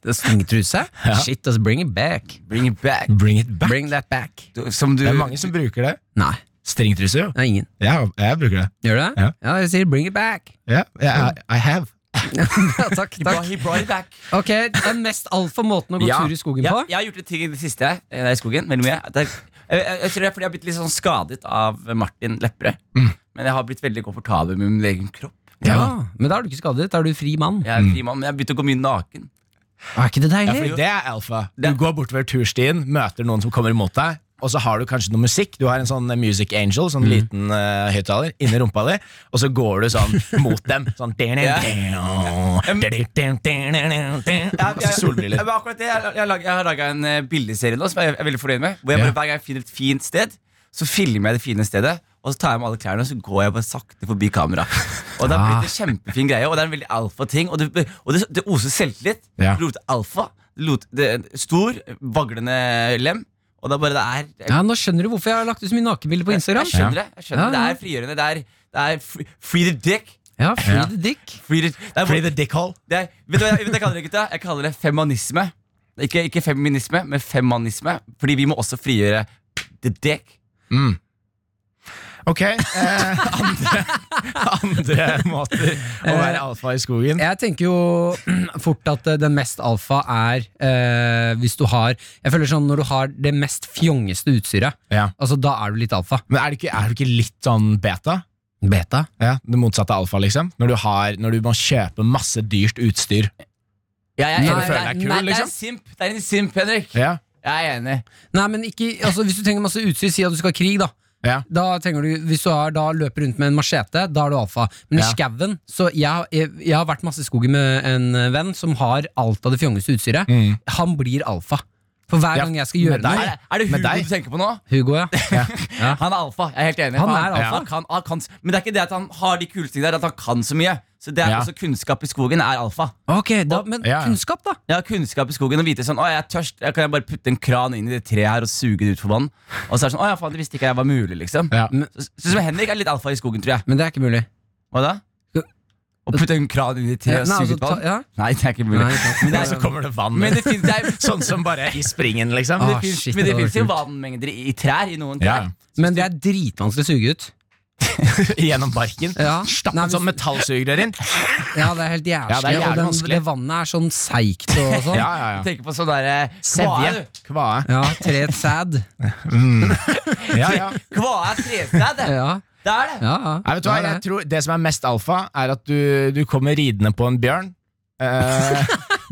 S2: Stringtruse? Shit, let's bring it back.
S4: Bring it back.
S3: Bring it
S2: Bring that back.
S4: Du, som du,
S3: Det er mange som bruker det.
S2: Nei,
S3: Stringtruse, jo.
S2: det er ingen.
S3: Jeg, jeg bruker det.
S2: Gjør du det?
S3: Ja.
S2: ja jeg sier bring it back.
S3: Ja, jeg- I have.
S2: Ja, takk, takk.
S4: He brought it back.
S2: Ok, Den mest alfa måten å gå
S4: Ja.
S2: tur i skogen
S4: Ja,
S2: på?
S4: jeg har gjort en ting i det siste eh, der i skogen. Veldig mye. Det er, jeg, jeg, jeg tror det er fordi jeg har blitt litt sånn skadet av Martin Lepperød. Men jeg har blitt veldig komfortabel med min egen kropp.
S2: Ja, Men da er du ikke skadet. Da er du fri mann.
S4: Jeg er en fri mann, men jeg har begynt å gå mye naken.
S2: Er ikke det
S3: Ja,
S2: deilig?
S3: fordi det er alfa. Du
S4: Det-
S3: går bortover turstien, møter noen som kommer imot deg, og så har du kanskje noe musikk. Du har en sånn Music Angel, sånn liten eh, høyttaler inni rumpa di, og så går du sånn mot dem. Sånn Og så
S4: Jeg,
S3: solbriller.
S4: men akkurat det, jeg, jeg, lag- jeg har laga en eh, bildeserie nå som jeg er veldig fornøyd med. Hvor jeg
S3: Ja.
S4: bare, Hver gang jeg finner et fint sted, så filmer jeg det fine stedet. Og så tar jeg med alle klærne og så går jeg bare sakte forbi kamera. Og det har blitt
S2: Ah.
S4: en kjempefin greie Og det er en veldig alfa-ting. Og, det, og det, det oser selvtillit.
S3: Ja.
S4: Det lukter alfa. Det lot, det, stor, vaglende lem. Og det er bare det er jeg,
S2: Ja, Nå skjønner du hvorfor jeg har lagt ut så mye nakenbilder på
S4: jeg
S2: Instagram.
S4: skjønner det. jeg skjønner
S2: Ja,
S4: Det
S2: ja.
S4: Det er frigjørende. Det er, det er free, free the dick.
S2: Ja, free the dick.
S4: Free the, det er,
S3: Free the dick hole.
S4: det er, vet du hva jeg, vet du hva jeg kaller det, gutta? Jeg kaller det femanisme. Ikke, ikke feminisme, men femanisme. Fordi vi må også frigjøre the dick.
S3: Ok. Eh, andre, andre måter å være alfa i skogen.
S2: Jeg tenker jo fort at eh, den mest alfa er eh, hvis du har Jeg føler sånn når du har det mest fjongeste utstyret,
S3: Ja.
S2: altså da er du litt alfa.
S3: Men er du ikke, er du ikke litt sånn beta?
S2: Beta.
S3: Ja, Det motsatte av alfa, liksom? Når du, har, når du må kjøpe masse dyrt utstyr.
S4: Ja, jeg er
S2: Nei,
S4: enig.
S2: føler
S4: Det er-
S3: deg kul,
S4: nei, det er
S3: liksom.
S4: en simp, det er en simp, Henrik.
S3: Ja,
S4: Jeg er enig.
S2: Nei, men ikke, altså Hvis du trenger masse utstyr, si at du skal ha krig, da.
S3: Ja.
S2: Da trenger du, Hvis du har, da løper rundt med en machete, da er du alfa. Men i
S3: Ja.
S2: skauen så jeg, jeg, jeg har vært masse i skogen med en venn som har alt av det fjongeste utstyret. Han blir alfa. For hver
S3: Mm. Ja,
S2: gang jeg skal gjøre
S3: med deg.
S2: noe
S4: Er, er det
S3: Med
S4: Hugo
S3: deg?
S4: du tenker på nå?
S2: Hugo, ja.
S4: Han er alfa. Jeg er helt enig.
S2: Han
S4: For
S2: er alfa.
S4: han kan, han kan, men det er ikke det at han har de kuleste tingene, det er at han kan så mye. Så det er
S3: Ja.
S4: også kunnskap i skogen er alfa.
S2: Ok, da, Men
S3: Ja, ja.
S2: kunnskap, da.
S4: Ja, kunnskap i skogen og vite sånn Å, jeg er tørst. Jeg kan jeg bare putte en kran inn i det treet her og suge det ut for vann? Og så er det sånn Å ja, faen, det visste ikke jeg var mulig, liksom.
S3: Ja.
S4: Men- Så, så, så Henrik er litt alfa i skogen, tror jeg.
S2: Men det er ikke mulig.
S4: Hva da?
S2: Ja.
S4: Å putte en kran inn i
S2: Ja,
S4: treet og
S2: nei, altså,
S4: suge ut vann?
S2: ta- ja.
S4: Nei, det er ikke mulig.
S2: Nei, ikke
S4: men det,
S3: Så
S4: er,
S3: kommer det vann.
S4: men det finnes, det er,
S3: Sånn som bare i springen, liksom.
S2: Ah,
S4: det finnes,
S2: shit,
S4: men det
S2: det
S4: finnes
S2: var
S4: jo
S2: kult.
S4: vannmengder i, i trær. I noen
S3: Ja,
S4: trær.
S2: Men det er dritvanskelig å suge ut.
S3: Gjennom barken.
S2: Ja.
S3: Stapp
S2: Nei,
S3: en
S2: men-
S3: sånn metallsugerør inn.
S2: Ja, det er helt jævlig.
S3: Ja, det er jævlig
S2: og den,
S3: vanskelig.
S2: det vannet er sånn seigt og sånn.
S3: Ja,
S2: ja.
S3: ja, ja.
S4: Tenker på sånn derre
S3: Sevje. Kvae.
S2: tre et sæd.
S3: Ja, ja.
S4: Hva er trestad?
S2: Ja,
S4: Det er det.
S2: ja, ja.
S3: Nei, vet du hva,
S2: Ja, det er
S3: jeg tror Det som er mest alfa, er at du, du kommer ridende på en bjørn. Eh,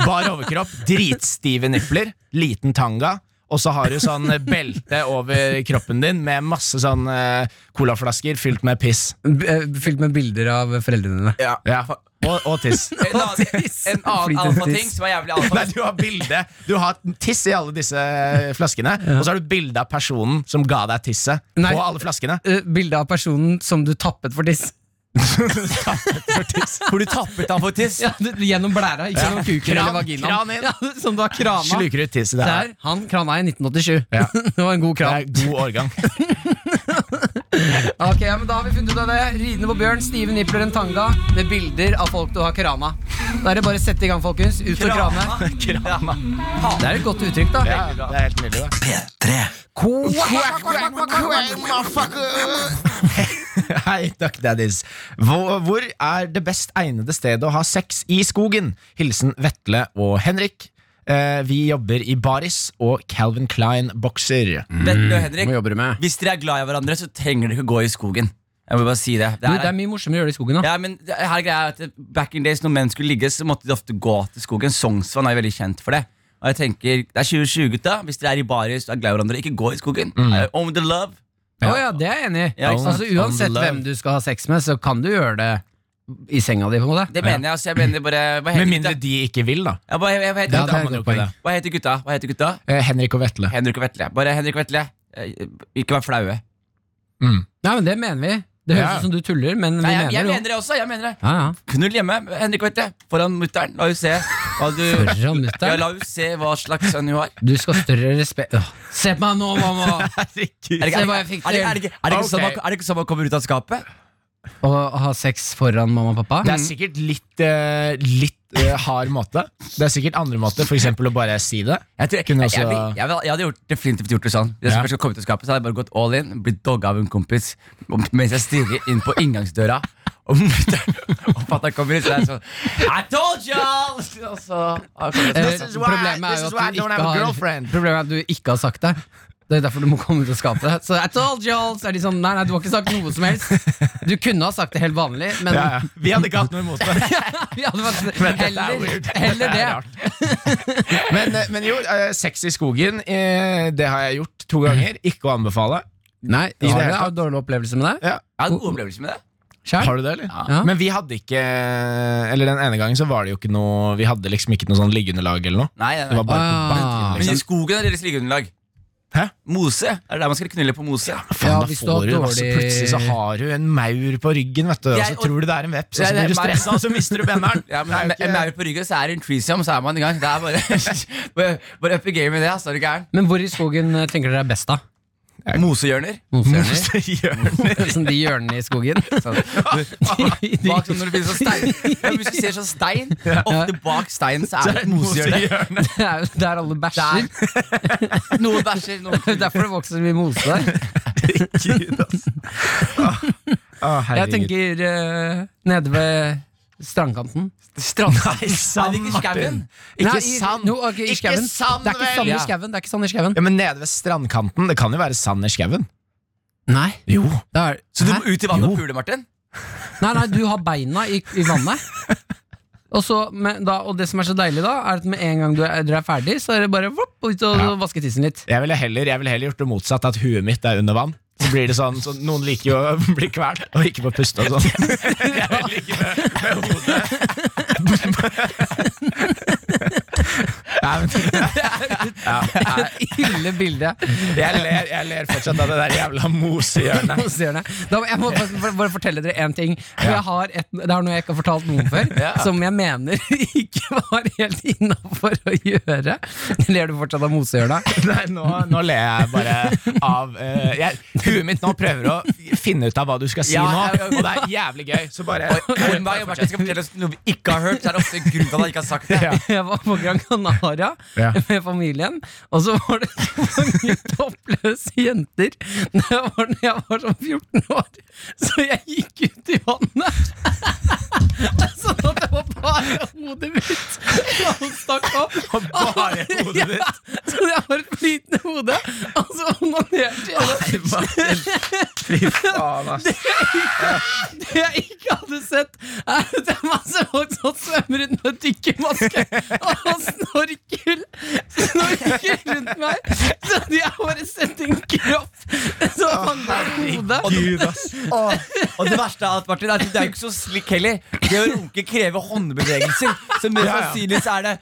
S3: bar overkropp, dritstive nipler, liten tanga. og så har du sånn belte over kroppen din med masse sånn eh, colaflasker fylt med piss.
S2: B- eh, Fylt med bilder av foreldrene dine.
S3: Ja, og, og tiss.
S4: En annen, en annen
S2: Flytende
S4: alfating
S2: tiss.
S4: som er jævlig
S3: Nei,
S4: alfa.
S3: du har bilde Du har tiss i alle disse eh, flaskene, og så har du bilde av personen som ga deg tisset,
S2: Nei.
S3: på alle flaskene.
S2: Eh, Bilde av personen som du tappet for tiss.
S4: Hvor du tappet han for tiss.
S2: Ja, du, gjennom blæra, ikke gjennom kuken
S3: Kran-
S2: eller vaginaen.
S3: kran inn.
S2: Ja, som du har krana.
S3: Sluker ut tisset der.
S2: Der, han krana i 1987.
S3: Ja.
S2: det var en god
S3: Det
S2: kran.
S3: er god årgang.
S2: Ok, ja, men Da har vi funnet ut av det. Ridende på bjørn, stive nipler, en tanga med bilder av folk du har krana. Da er det bare å sette i gang, folkens. Ut og krane.
S4: Krama.
S2: Det er et godt uttrykk, da.
S3: Ja, det er helt nydelig, da.
S13: P3
S3: Hei, Duck Daddies. Hvor, hvor er det best egnede stedet å ha sex i skogen? Hilsen Vetle og Henrik. Eh, vi jobber i baris og Calvin Klein bokser.
S4: Vetle og Henrik,
S2: jobber du med?
S4: hvis dere er glad i hverandre, så trenger dere ikke gå i skogen. Jeg må bare si det.
S2: Du,
S4: Det er-
S2: det er mye morsommere å gjøre det i skogen. da
S4: Ja, men det- her er greia at Back in days, når menn skulle ligge, så måtte de ofte gå til skogen. Sognsvann er jo veldig kjent for det. Og jeg tenker, Det er 2020, gutta. Hvis dere er i baris og er glad i hverandre, ikke gå i skogen.
S2: Mm.
S4: Eh, Own the love.
S2: Å ja, det er jeg enig i.
S4: Ja, ikke sant?
S2: altså, uansett hvem du skal ha sex med, så kan du gjøre det i senga di. på en måte
S4: Det mener jeg. altså, jeg mener bare Hva
S3: Med
S4: heter
S3: mindre
S4: gutta?
S3: de ikke vil, da.
S4: Ja, hva, hva, heter
S3: Da
S4: gutta?
S3: kan man jo ikke det.
S4: hva heter gutta? Hva heter gutta?
S3: Eh, Henrik og Vetle.
S4: Henrik og Vetle. Bare Henrik og Vetle. eh, Ikke vær flaue.
S3: Mm.
S2: Nei, men Det mener vi. Det høres
S3: Ja.
S2: ut som du tuller, men vi
S4: Nei, jeg, jeg
S2: mener
S4: mener
S2: det.
S4: det også. jeg mener det
S2: Ja, ja.
S4: Knull hjemme, Henrik og Vetle. Foran mutter'n. La henne se hva du
S2: Foran
S4: ja,
S2: mutter'n.
S4: La henne se hva slags sønn hun har.
S2: sånn Du skal ha større respekt Åh, Se på meg nå, mamma!
S4: Er
S2: Se
S4: det ikke-
S2: hva
S4: er
S2: jeg
S4: det
S2: fikk
S4: ikke- er det ikke- er det ikke
S3: Ok.
S4: sånn man- er det ikke sånn man kommer ut av skapet?
S2: Å ha sex foran mamma og pappa?
S3: Det er sikkert litt, eh, litt eh, hard måte. Det er sikkert andre måter, f.eks. å bare si det.
S4: Jeg, tror, jeg,
S3: Kunne
S4: jeg,
S3: også-
S4: jeg, vil- jeg, vil- jeg hadde gjort, definitivt gjort det sånn.
S3: Ja.
S4: Hvis jeg skulle først komme til skapet, så hadde jeg bare gått all in, blitt dogga av en kompis og- mens jeg stirrer inn på inngangsdøra. Og mutter'n og fatter'n kommer inn, så er jeg sånn I told y'all! Og så, og så-
S2: Eh,
S3: This is why-
S2: problemet er
S3: this
S2: jo
S3: is
S2: at
S3: why I
S2: du
S3: don't
S2: ikke
S3: have a
S2: har-
S3: girlfriend.
S2: Problemet er at du ikke har sagt det. Det er derfor du må komme ut og skape det. Så I told you all, så er de sånn Nei, nei, du har ikke sagt noe som helst. Du kunne ha sagt det helt vanlig, men
S3: Ja, ja. Vi hadde ikke hatt noe imot det.
S2: vi hadde faktisk
S3: Men dette er
S2: heller,
S3: weird.
S2: heller
S3: Dette
S2: det.
S3: er Men, eh, men jo, eh, sex i skogen, eh, det har jeg gjort to ganger. Ikke å anbefale.
S2: Nei,
S3: det
S2: har
S3: hele
S2: du hatt dårlig opplevelse med det?
S4: Jeg hadde gode opplevelser med det.
S2: Kjær?
S3: Har du det, eller?
S2: Ja.
S3: Men vi hadde ikke eh, Eller den ene gangen så var det jo ikke noe Vi hadde liksom ikke noe sånn liggeunderlag eller noe.
S4: Nei, nei,
S3: Det
S4: nei.
S3: var bare på
S2: Ah.
S3: banken,
S4: Men i
S3: liksom.
S4: skogen er deres liggeunderlag.
S3: Hæ?
S4: Mose. Er det der man skal knulle på mose?
S3: Faen,
S2: Ja,
S3: da
S2: hvis du har
S3: får du
S2: dårlig-
S3: masse Plutselig så har du en maur på ryggen, vet du. Og så
S4: Jeg-
S3: tror du det er en veps, og så
S4: Ja, det er
S3: blir du
S4: meg.
S3: stressa, og så mister du benneren. Det er jo
S4: Ja, men med-
S3: ikke-
S4: med maur på ryggen, så er det en threesome, så er man i gang. Det er bare, bare, bare up i game i det, altså. Er du gæren?
S2: Men hvor i skogen eh, tenker dere er best, da?
S4: Mosehjørner.
S2: Mosehjørner?
S4: Mosehjørner.
S2: Sånn de hjørnene i skogen? Sånn. De- de-
S4: Bak sånn når det finnes sånn stein ja, men Hvis du ser sånn stein, ofte bak steinen så er det et mosehjørne.
S2: Det er jo der alle bæsjer.
S4: Noen bæsjer, noen
S2: Det er derfor det vokser så mye mose der.
S3: Å,
S2: Jeg
S3: Ah, herregud.
S2: tenker eh, nede ved strandkanten.
S3: Nei, sand,
S4: ikke
S3: Martin.
S4: skauen?
S3: Ikke
S2: Nei, i-
S3: sand.
S2: no, ok, i
S3: Ikke
S2: skauen.
S3: sand,
S2: Det er ikke sand
S3: vel!
S2: i skauen. Det er ikke sand i skauen.
S3: Ja, men nede ved strandkanten. Det kan jo være sand i skauen.
S2: Nei,
S3: Jo.
S2: det er,
S4: Så du
S2: Hæ?
S4: må ut i vannet og pule, Martin?
S2: nei, nei, du har beina i, i vannet. Og, så, men da, og det som er så deilig, da er at med en gang du er, dere er ferdig, så er det bare vopp, ut og
S3: Ja.
S2: vaske tissen litt.
S3: Jeg ville heller, jeg ville heller gjort det motsatt, at huet mitt er under vann. Så blir det sånn, så Noen liker jo å bli kvalt og ikke få puste og sånn. Jeg vil ligge med, med hodet Nei, men,
S2: Ille bilde.
S3: jeg, ler, jeg ler fortsatt av det der jævla mosehjørnet.
S2: Så gjør det. Da, jeg må bare, bare- bare fortelle dere en ting. For jeg har et, det er noe jeg ikke har fortalt noen før, som jeg mener ikke var helt innafor å gjøre. Ler du fortsatt av mosehjørna?
S3: Nei, nå, nå ler jeg bare av eh, jeg, Huet mitt nå prøver å finne ut av hva du skal si
S4: Ja,
S3: nå,
S4: ja, ja.
S3: og det er jævlig gøy. Så bare
S4: Når meg og Martin skal fortelle oss noe vi ikke har hørt, så er det ofte en grunn til at han ikke har sagt det.
S3: Ja.
S2: Jeg var på Gran Canaria
S3: Ja.
S2: med familien, og så var det så mange toppløse jenter da jeg var, når jeg var sånn 14 år, så jeg gikk ut i vannet. Sånn at det var bare hodet mitt som stakk opp.
S3: Og bare hodet ditt.
S2: Ja, så jeg har et flytende hode, og så onanerte jeg. det.
S3: Fy faen, ass.
S2: Det jeg ikke hadde sett, er at det er masse folk som svømmer rundt med dykkermaske og snorker Snorker rundt meg. Så de har bare sett en kropp som handler om hodet.
S3: Gud, ass.
S14: Åh, og det verste av alt, Martin, er at det er jo ikke så slikk heller. Det å runke krever håndbevegelser. Så mest
S3: Ja, ja.
S14: sannsynlig så er det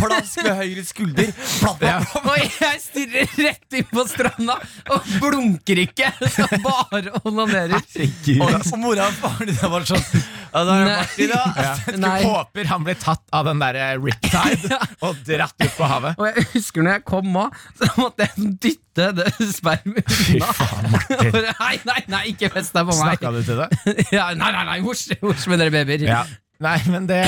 S14: plask ved høyre skulder. Bla, bla,
S3: Ja.
S14: bla.
S2: Og jeg stirrer rett inn på stranda og blunker ikke. Så bare onanerer.
S14: Og,
S3: Herregud, ass.
S14: og mora og faren din er bare sånn Ja, da er det
S2: Nei.
S14: Martin, da.
S3: Ja. Du
S2: Nei.
S3: håper han blir tatt av den der eh, riptide og dratt ut på havet.
S2: Og jeg husker når jeg kom òg, så måtte jeg dytte det spermet unna.
S3: faen, Martin.
S2: Bare, Nei, nei, nei, ikke fest deg på meg.
S3: Snakka du til det?
S2: Ja, nei, nei, nei, hors, hors med dere babyer.
S3: Ja. Nei, men det,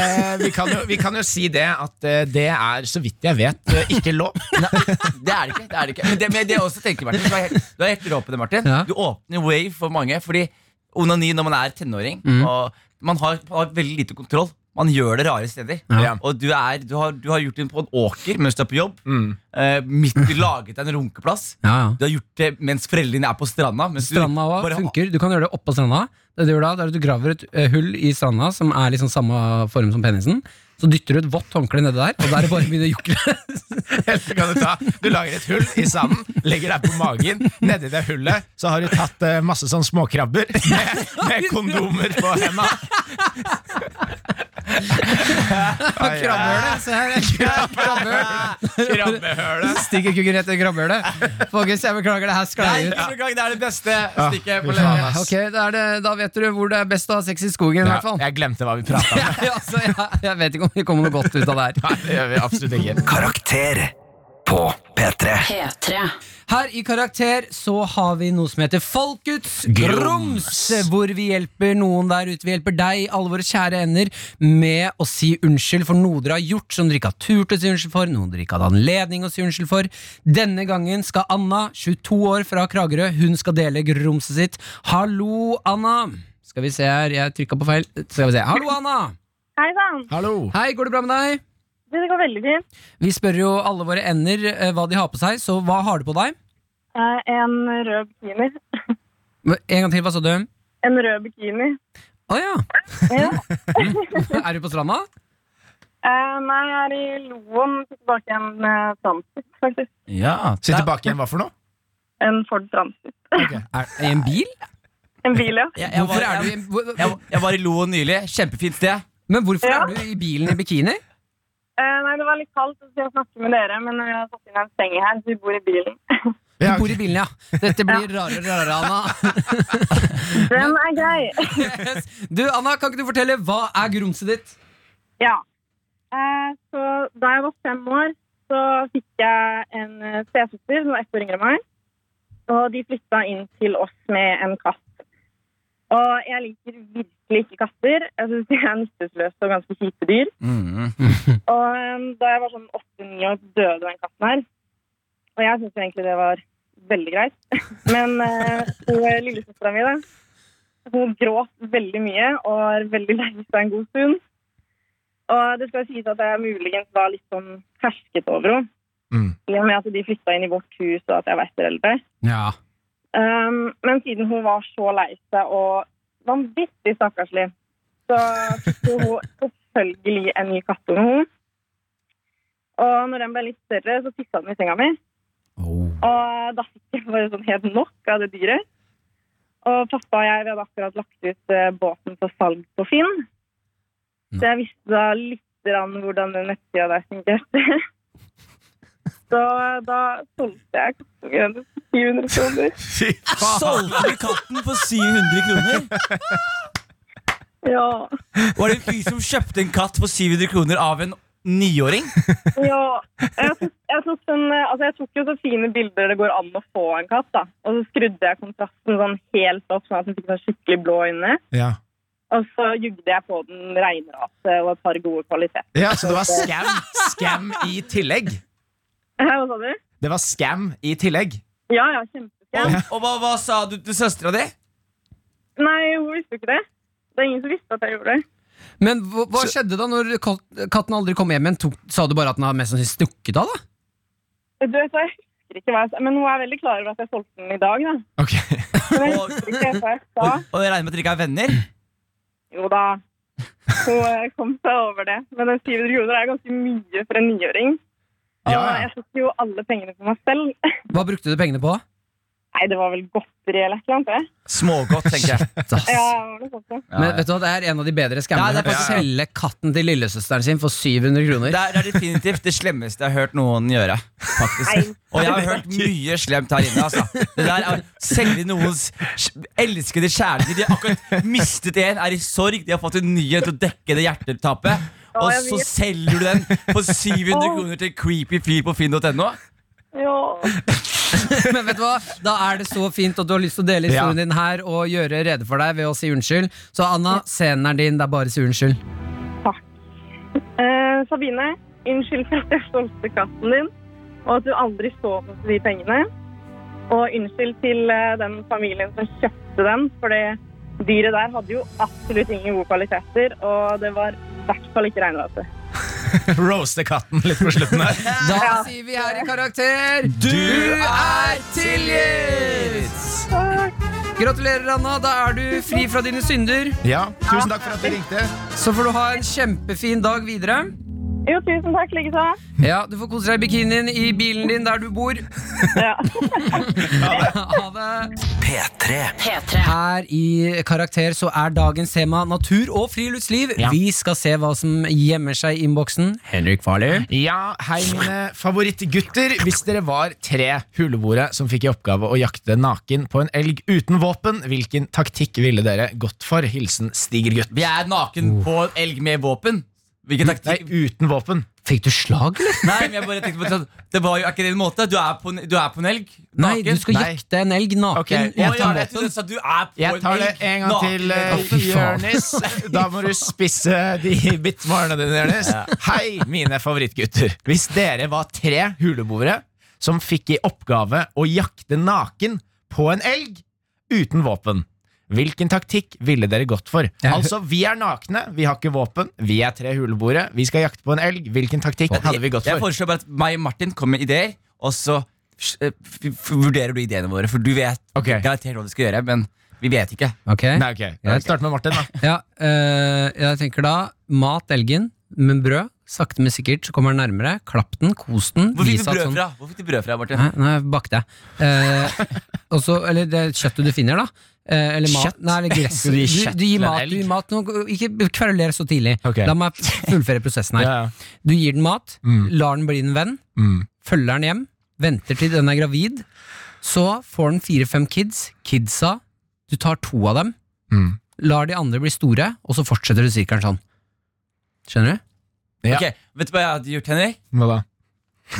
S3: vi, kan jo, vi kan jo si det at eh, det er, så vidt jeg vet, eh, ikke lov.
S14: Det er det ikke. det er det ikke Men det, men det jeg også tenker, Martin, du er helt, du er helt rå på det, Martin.
S2: Ja.
S14: Du åpner way for mange. Fordi onani når man er tenåring
S2: Mm.
S14: og man har, man har veldig lite kontroll. Man gjør det rare steder.
S3: Ja.
S14: Og du, er, du, har, du har gjort det på en åker mens du er på jobb. Eh, midt i laget deg en runkeplass.
S2: Ja, ja.
S14: Du har gjort det mens foreldrene dine er på stranda. Mens du
S2: Stranda
S14: bare
S2: også
S14: har-
S2: funker. Du kan gjøre det oppå stranda. Det du gjør da, det er at du graver et eh, hull i stranda som er liksom samme form som penisen. Så dytter du et vått håndkle nedi der, og der er det bare å begynne å jukle.
S3: Eller så kan du ta Du lager et hull i sanden, legger deg på magen. Nedi det hullet så har du tatt eh, masse sånn småkrabber med, med kondomer på henda.
S2: Krabbehølet! Se her, jeg krabbehølet.
S3: Krabbehølet.
S2: Stikker kukken rett i krabbehølet. Folkens, jeg beklager, det her
S14: Nei,
S2: sklei ut. Eh,
S14: ikke beklager, det er det beste stykket på
S3: fy faen,
S14: lenge.
S3: ass.
S2: Ok, da, er det, da vet du hvor det er best å ha sex i skogen, i
S3: Ja,
S2: hvert fall.
S3: jeg glemte hva vi prata om.
S2: Ja, altså, jeg, jeg vet ikke om det kommer noe godt ut av det her.
S3: Nei, det gjør vi absolutt ikke.
S1: Karakter på P3.
S12: P3.
S2: Her i Karakter så har vi noe som heter Folkets grums, hvor vi hjelper noen der ute. Vi hjelper deg, alle våre kjære ender, med å si unnskyld for noe dere har gjort som dere ikke har turt å si unnskyld for, noe dere ikke hadde anledning å si unnskyld for. Denne gangen skal Anna, 22 år fra Kragerø, hun skal dele grumset sitt. Hallo, Anna! Skal vi se her, jeg trykka på feil. Skal vi se. Hallo, Anna!
S15: Hei sann.
S3: Hallo.
S2: Hei, går det bra med deg?
S15: Du, Det går veldig fint.
S2: Vi spør jo alle våre ender eh, hva de har på seg, så hva har du på deg?
S15: Eh, En rød bikini.
S2: En gang til, hva sa du? Å
S15: En rød bikini.
S2: ja!
S15: Ja.
S2: Er du på stranda?
S15: Eh, Nei, jeg er i Loen tilbake igjen med Transit, faktisk.
S14: Ja,
S3: Sitt tilbake igjen, hva for noe?
S15: En Ford Transit.
S2: Er, I en bil?
S15: En bil, ja.
S14: jeg, jeg,
S2: Hvorfor
S14: var,
S2: er du
S14: jeg,
S2: i, hvor-
S14: jeg, jeg var i Loen nylig. Kjempefint sted.
S2: Men hvorfor
S15: Ja.
S2: er du i bilen i bikini?
S15: Eh, Nei, det var litt kaldt, så jeg snakket med dere, men jeg har satt inn en seng her, så vi bor i bilen.
S2: Du
S3: Ja,
S2: bor i bilen, ja. Dette blir rarere og rarere, Anna.
S15: Den er grei.
S2: Yes. Du, Anna, kan ikke du fortelle hva er grumset ditt?
S15: Ja. Eh, Så da jeg var fem år, så fikk jeg en eh, stesøster som var ett år yngre enn meg. Og de flytta inn til oss med en katt. Og jeg liker virkelig ikke katter. Jeg syns de er nytteløse og ganske kjipe dyr. Og eh, da jeg var sånn åtte-ni år, så døde den katten her. Og jeg syns egentlig det var veldig greit. Men eh, hun lillesøstera mi, da, hun gråt veldig mye og var veldig lei seg en god stund. Og det skal sies at jeg muligens var litt sånn fersket over henne.
S3: Mm.
S15: I og med at de flytta inn i vårt hus og at jeg var etterelder.
S2: Ja.
S15: Um, men siden hun var så lei seg og vanvittig stakkarslig, så fikk jo hun selvfølgelig en ny kattunge. hun. Og når den ble litt større, så tissa den i senga mi. Og da fikk jeg bare sånn helt nok av det dyret. Og pappa og jeg vi hadde akkurat lagt ut eh, båten for salg på Finn. Så jeg visste da litt grann hvordan den nettsida der fungerte. Så da solgte jeg kattungen for 700 kroner.
S14: Solgte du katten for 700 kroner?
S15: Ja.
S14: Var det en fyr som kjøpte en katt for 700 kroner av en niåring?
S15: ja. Jeg, tok, jeg, tok sånn, eh, altså jeg tok jo så fine bilder det går an å få en katt, da. Og så skrudde jeg kontrasten sånn helt opp, sånn at den fikk sånn skikkelig blå øyne.
S3: Ja.
S15: Og så jugde jeg på den regnrase og et par gode kvaliteter.
S3: ja, så det var scam. Scam i tillegg.
S15: Hva sa du?
S3: Det var scam i tillegg.
S15: Ja, ja, kjempefint.
S14: Og hva, hva sa du til søstera di?
S15: Nei, hun visste jo ikke det. Det er ingen som visste at jeg gjorde det.
S2: Men hva, hva skjedde da når kat- katten aldri kom hjem igjen? Tok- Sa du bare at den har mest sannsynlig stukket av, da?
S15: Du vet, hva, jeg husker ikke hva jeg sa, men hun er veldig klar over at jeg solgte den i dag, da.
S3: Ok
S15: Det var hyggelig å se på oss da.
S4: Og jeg regner med at dere ikke er venner?
S15: Jo da. Hun eh, kom seg over det. Men den 700 kroner er ganske mye for en niåring. Og
S2: Ja, ja.
S15: jeg tok jo alle pengene for meg selv.
S2: Hva brukte du pengene på?
S15: Nei, det var vel godteri eller et eller annet. det.
S4: Smågodt, tenker jeg.
S15: Ja, det var noe sånt. ja.
S2: Men vet du hva, det er en av de bedre
S4: Ja,
S2: skammene.
S4: det er faktisk-
S2: Selge katten til lillesøsteren sin for 700 kroner.
S4: Det er, det er definitivt det slemmeste jeg har hørt noen gjøre. Faktisk. Og jeg har hørt mye slemt her inne. Altså. Det der er å Selge noens kj- elskede kjærlighet. De har akkurat mistet en, er i sorg, de har fått en ny en til å dekke det hjertetapet.
S15: Ja,
S4: Og
S15: jeg
S4: så
S15: vet.
S4: selger du den for 700
S15: Åh.
S4: kroner til en creepy fyr på finn.no.
S15: Ja.
S2: Men vet du hva, da er det så fint at du har lyst til å dele historien din her og gjøre rede for deg ved å si unnskyld. Så Anna, scenen er din. Det er bare å si unnskyld.
S15: Eh, Sabine, unnskyld for at jeg solgte katten din, og at du aldri så på de pengene. Og unnskyld til eh, den familien som kjøpte den, for det dyret der hadde jo absolutt ingen gode kvaliteter, og det var i hvert fall ikke regnvete.
S3: Roaste katten litt på slutten her.
S2: Da sier vi her i karakter
S3: Du
S2: er tilgitt! Gratulerer, Anna. Da er du fri fra dine synder.
S3: Ja, Tusen takk for at du ringte.
S2: Så får du ha en kjempefin dag videre.
S15: Jo, tusen takk, likeså.
S2: Ja, Du får kose deg i bikinien i bilen din der du bor.
S15: Ja.
S2: Ha det.
S1: P3.
S12: P3.
S2: Her i Karakter så er dagens tema natur og friluftsliv.
S3: Ja.
S2: Vi skal se hva som gjemmer seg i innboksen. Henrik Farley.
S3: Ja, hei mine favorittgutter. Hvis dere var tre huleboere som fikk i oppgave å jakte naken på en elg uten våpen, hvilken taktikk ville dere gått for? Hilsen Stigergutt.
S4: Vi er naken på en elg med våpen. Hvilken
S3: Nei,
S4: taktikk?
S3: uten våpen.
S2: Fikk du slag, eller?
S4: Nei, men jeg bare tenkte på det, sånn, det var jo er ikke din måte. Du er på en, du er på en elg.
S2: Nei, du
S4: Naken.
S2: skal
S3: Nei.
S2: jakte en elg naken.
S3: Ok, jeg
S4: Å,
S2: uten
S4: ja,
S3: tar
S4: jeg
S2: våpen.
S4: trodde du sa du er på
S3: Jeg tar det
S4: elg.
S3: en gang
S4: Naken.
S3: til, eh,
S2: Å, fy faen.
S3: Jørnis. Da må du spisse de bitte morgenene dine, Jørnis. Hei, mine favorittgutter. Hvis dere var tre huleboere som fikk i oppgave å jakte naken på en elg uten våpen, hvilken taktikk ville dere gått for? Altså, vi er nakne, vi har ikke våpen, vi er tre huleboere, vi skal jakte på en elg. Hvilken taktikk hadde vi gått
S4: Jeg
S3: for?
S4: foreslår bare at meg og Martin kommer med ideer, og så eh, f- f- vurderer du ideene våre. For du vet
S3: Ok.
S4: garantert hva du skal gjøre, men vi vet ikke.
S2: Ok.
S3: Nei, ok, Start med Martin, da.
S2: Ja, eh, jeg tenker da mat elgen, men brød. Sakte, men sikkert så kommer den nærmere. Klapp den, kos den.
S4: Hvor fikk
S2: vis
S4: du
S2: at
S4: brød
S2: sånn-
S4: fra? Hvor fikk du brød fra, Martin?
S2: Nei, nei bakte jeg. Eh, og så- eller det kjøttet du finner, da. Eh, eller mat.
S3: Kjøtt?
S2: Nei, eller gress.
S3: Skal
S2: Du,
S3: du gi
S2: du,
S3: kjøtt
S2: gir
S3: til en
S2: mat,
S3: elg?
S2: du gir mat. Nå, ikke kveruler så tidlig.
S3: Ok.
S2: La meg fullføre prosessen her.
S3: Ja, ja.
S2: Du gir den mat,
S3: Mm.
S2: lar den bli en venn,
S3: Mm.
S2: følger den hjem, venter til den er gravid. Så får den fire-fem kids. Kidsa, du tar to av dem,
S3: Mm.
S2: lar de andre bli store, og så fortsetter du sirkelen sånn. Skjønner du?
S3: Ja.
S4: Ok, Vet du hva jeg hadde gjort, Henrik?
S3: Hva da?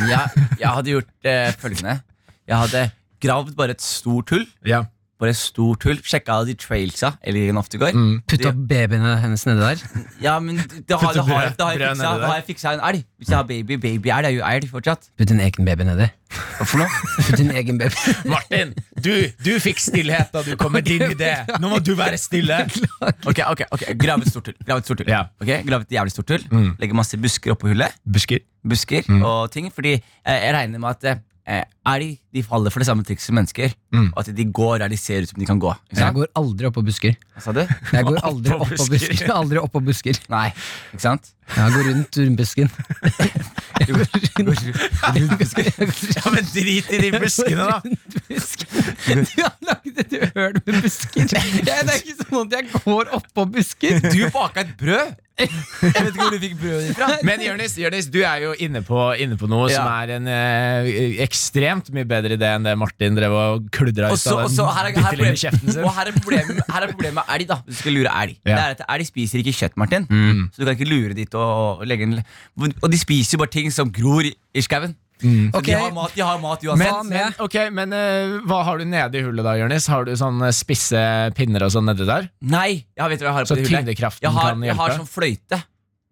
S4: Jeg, jeg hadde gjort eh, følgende. Jeg hadde gravd bare et stort hull.
S3: Ja.
S4: Bare et stort hull Sjekka de trailsa Elgen ofte går.
S3: Mm.
S2: Putta babyene hennes nedi der.
S4: Ja, men da har, da har, da har, jeg
S3: Brød
S4: fiksa,
S3: nedi der.
S4: da har jeg fiksa en elg. Hvis jeg har baby, baby elg er jo elg fortsatt.
S2: Putt din egen baby nedi. Putt din egen baby
S3: Martin, du, du fikk stillhet da du kom med din idé. Nå må du være stille.
S4: Ok, ok, ok Grav et stort hull. Grav et stort hull.
S3: Ja.
S4: Ok, Grav et jævlig stort hull
S3: Mm.
S4: Legge masse busker oppå hullet.
S3: Busker.
S4: busker og ting. Fordi eh, jeg regner med at eh, elg de faller for det samme trikset som mennesker.
S3: Mm.
S4: Og at de går der de ser ut som de kan gå. Ikke
S2: Jeg
S4: sant?
S2: går aldri oppå busker.
S4: Hva sa du?
S2: Jeg går aldri
S3: Oppå
S2: oppå
S3: busker.
S2: busker. Aldri oppå busker.
S4: Nei, ikke sant?
S2: Jeg går rundt rundt busken. Jeg går rundt rundt busken.
S3: Ja, men drit i de buskene, da.
S2: Du har lagd et uhørt med busker. Jeg, det er ikke sånn at jeg går oppå busker.
S4: Du baka et brød! Jeg vet ikke hvor du fikk brødet ditt fra.
S3: Men Jørnis, Jørnis, du er jo inne på, inne på noe
S4: Ja.
S3: som er en eh, ekstremt mye bedre idé enn det Martin drev og kludra
S4: Og
S3: ut
S4: så,
S3: av
S4: og
S3: den
S4: så her, er, her, er
S3: bitte lille
S4: problemet,
S3: kjeften sin.
S4: og her, er problemet, her er problemet med elg, da. Hvis du skal lure elg.
S3: Ja. Mm.
S4: Det er at Elg spiser ikke kjøtt, Martin. Så du kan ikke lure dit og, og legge en Og de spiser jo bare ting som gror i- i skauen. Så
S2: Ok.
S4: de, har mat, de har mat
S2: Men,
S4: uansett.
S2: men,
S3: Ok, Mm. men eh, Hva har du nede i hullet da, Jørnis? Har du sånne spisse pinner og sånn nedi der?
S4: Nei! Jeg vet hva jeg har
S3: Så
S4: på det hullet.
S3: tyngdekraften
S4: Jeg har,
S3: kan
S4: jeg har
S3: hjelpe?
S4: sånn fløyte.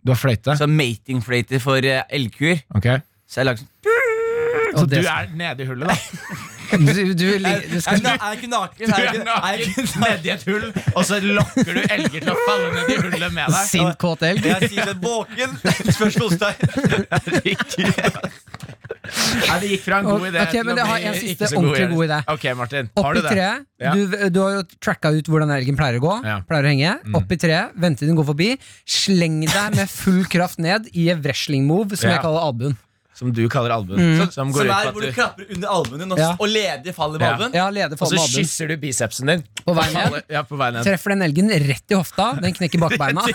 S3: Du har fløyte?
S4: Så matingfløyte for eh, elgkuer.
S3: Ok.
S4: Så jeg lager sånn
S3: Så
S2: og
S3: du
S2: det,
S3: er nede i hullet, da?
S2: du, du, vil- du
S4: Jeg
S2: skal,
S4: er na- jeg er ikke naken. Jeg er ikke- jeg er ikke
S3: Nedi et hull, og så lokker du elger til å falle ned i hullet med deg?
S2: Sint kåt elg.
S4: Jeg sier sånn våken. Spørsmålstegn.
S3: Nei, det gikk fra en god
S2: Og-
S3: idé
S2: ok, men jeg har en siste
S3: ikke så god
S2: ordentlig god idé.
S3: Ok, Martin, har
S2: Opp i
S3: du det?
S2: treet.
S3: Ja.
S2: Du, du har jo tracka ut hvordan elgen pleier å gå.
S3: Ja. Mm.
S2: Pleier å henge. Opp i treet, vente til den går forbi. Sleng deg med full kraft ned i en wrestling move, som
S3: Ja.
S2: jeg kaller albuen.
S3: Som du kaller albuen.
S2: Mm.
S3: Som
S4: Som
S3: går ut
S4: er
S3: på
S4: hvor du
S3: at du
S4: klapper under albuen din, og,
S2: Ja.
S4: og ledig faller med
S3: Ja.
S4: albuen.
S2: Ja, leder
S3: Og
S2: faen
S3: så
S2: med albuen.
S3: kysser du bicepsen din.
S2: På vei ned.
S3: Faller- Ja, på vei ned.
S2: Treffer den elgen rett i hofta. Den knekker bakbeina.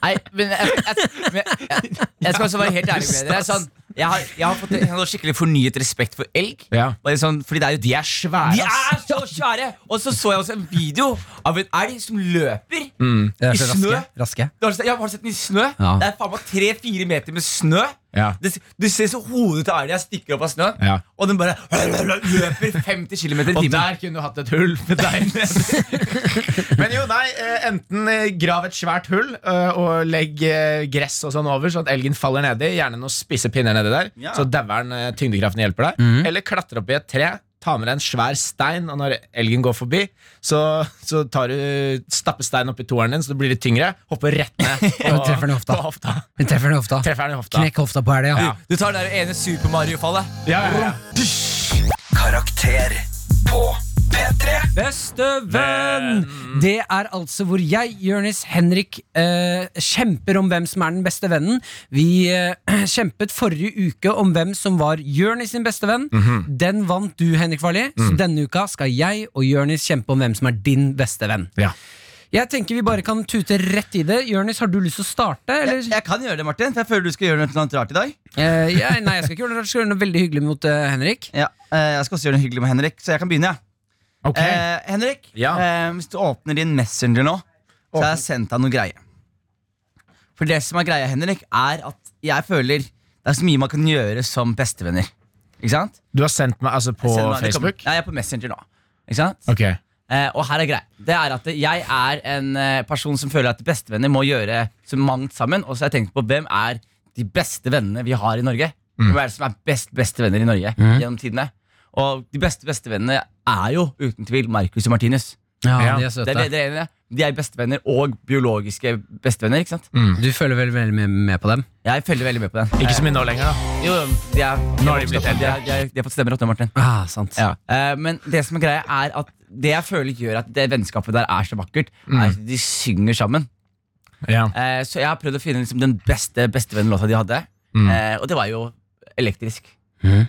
S4: Nei, men jeg, jeg, men jeg, jeg skal også være helt ærlig med dere. Sånn, jeg, har, jeg, har fått, jeg har skikkelig fornyet respekt for elg.
S3: Ja.
S4: Bare sånn, fordi det er jo de er svære. De er så svære Og så så jeg også en video av en elg som løper
S2: Det er
S4: i
S2: så
S4: snø.
S2: raske. raske.
S4: Du har, sett- ja, har du sett den i snø?
S2: Ja.
S4: Det er faen meg tre-fire meter med snø.
S3: Ja.
S4: Det, du ser så hodet til elgen stikker opp av snøen,
S3: Ja.
S4: og den bare løper 50 km i
S3: Og
S4: timen.
S3: der kunne du hatt et hull med deg ned. Men jo, nei, eh, enten eh, grav et svært hull eh, og legg eh, gress og sånn over, sånn at elgen faller nedi. Gjerne noen spisse pinner nedi der,
S4: Ja.
S3: så dauer'n eh, tyngdekraften hjelper deg. Eller klatre opp i et tre. Ta med deg en svær stein, og når elgen går forbi, så, så tar du stapper steinen oppi toeren din, så det blir litt tyngre. Hopper rett ned
S2: Og treffer den i hofta.
S3: på hofta.
S2: Den treffer den i hofta.
S3: Treffer den i hofta.
S2: Knekk hofta på elga.
S3: Ja.
S4: Du tar det der ene Super Mario-fallet.
S3: Ja, ja, ja.
S1: Karakter på P3.
S2: Beste venn! Det er altså hvor jeg, Jonis, Henrik, eh, kjemper om hvem som er den beste vennen. Vi eh, kjempet forrige uke om hvem som var Jonis sin beste venn. Den vant du, Henrik Farli. Så denne uka skal jeg og Jonis kjempe om hvem som er din beste venn.
S3: Ja.
S2: Jeg tenker vi bare kan tute rett i det. Jonis, har du lyst til å starte? Eller?
S4: Jeg, jeg kan gjøre det, Martin. For jeg føler du skal gjøre noe annet rart i dag.
S2: Eh, jeg, nei, jeg skal ikke gjøre noe, rart. jeg skal gjøre noe veldig hyggelig mot eh, Henrik.
S4: Ja, eh, Jeg skal også gjøre det hyggelig med Henrik, så jeg kan begynne. jeg.
S3: Ok.
S4: Eh, Henrik,
S3: Ja.
S4: eh, hvis du åpner din Messenger nå, så har jeg sendt deg noen greier. For det som er greia, Henrik, er at jeg føler det er så mye man kan gjøre som bestevenner. Ikke sant?
S3: Du har sendt meg altså på
S4: Jeg sender meg- det kommer-
S3: Facebook?
S4: Nei, jeg er på Messenger nå. Ikke sant?
S3: Ok.
S4: Eh, og her er greia. Det er at jeg er en eh, person som føler at bestevenner må gjøre så mangt sammen. Og så har jeg tenkt på hvem er de beste vennene vi har i Norge. Hvem er det som er best beste venner i Norge gjennom tidene? Og de beste bestevennene er jo uten tvil Marcus og Martinus.
S2: Ja,
S3: Ja,
S2: de er
S4: Det er det
S2: søte.
S4: dere er enige i? De er bestevenner og biologiske bestevenner. ikke sant?
S2: Du følger vel veldig med- med på dem?
S4: Jeg følger veldig med på den.
S3: Ikke så mye nå lenger, da.
S4: Jo, de er,
S3: Nå har
S4: de
S3: de
S4: er
S3: blitt
S4: vokst opp, de er- de er- de har fått stemmer opp nå, Martin.
S2: Ah, sant.
S4: Ja. Eh, men det som er greia er at det jeg føler gjør at det vennskapet der er så vakkert, er at de synger sammen.
S3: Mm. Ja.
S4: Eh, så jeg har prøvd å finne liksom, den beste bestevennlåta de hadde,
S3: Mm.
S4: eh, og det var jo elektrisk. Eh,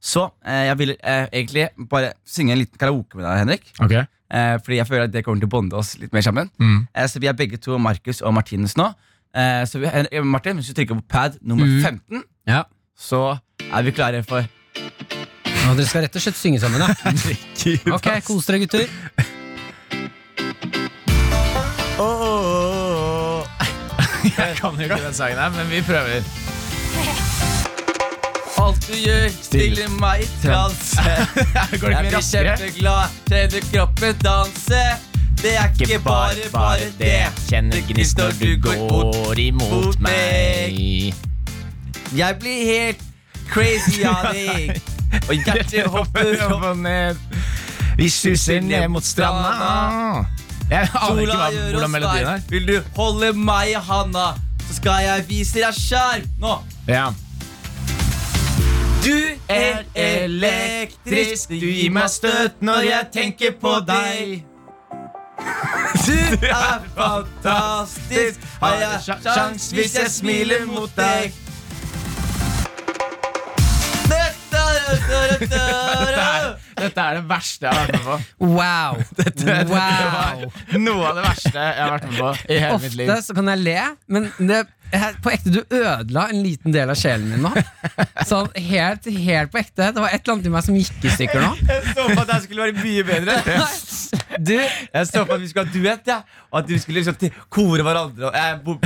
S4: så eh, jeg vil eh, egentlig bare synge en liten karaoke med deg, Henrik.
S3: Ok.
S4: Eh, fordi jeg føler at det kommer til å bonde oss litt mer sammen.
S3: Mm.
S4: Eh, så vi er begge to Markus og Martinus nå. Eh, så vi, Hen- Martin, hvis du trykker på pad nummer
S3: Mm.
S4: 15,
S2: Ja.
S4: så er vi klare for
S2: Og dere skal rett og slett synge sammen, ja. Ok, Kos dere, gutter.
S3: Jeg kan jo ikke den sangen her, men vi prøver.
S4: Alt du gjør, stiller meg i transe.
S3: Går
S4: Jeg blir kjempeglad, kjenner kroppen danse. Det er ikke bare, bare det.
S16: Kjenner gnist når du går imot meg.
S4: Jeg blir helt crazy av deg. Og hjertet hopper opp.
S3: og ned. Vi suser ned mot stranda. Jeg aner ikke
S4: Sola
S3: hva,
S4: gjør
S3: hvordan
S4: oss
S3: melodien
S4: varm.
S3: er.
S4: Vil du holde meg i handa, så skal jeg vise deg skjerm nå.
S3: Ja.
S4: Du er elektrisk, du gir meg støt når jeg tenker på deg. Du er fantastisk, har jeg sjans hvis jeg smiler mot deg? Dette er-
S3: Dette er det verste jeg har vært med på.
S2: Wow. wow.
S3: Noe av det verste jeg har vært med på i hele mitt liv.
S2: Ofte så kan jeg le, men det, her, på ekte, du ødela en liten del av sjelen min nå. Sånn helt, helt på ekte. Det var et eller annet i meg som gikk i stykker nå.
S4: Jeg så for at det her skulle være mye bedre.
S2: Du,
S4: Jeg så for at vi skulle ha duett, ja. og at vi skulle liksom til- kore hverandre. Og jeg, bo-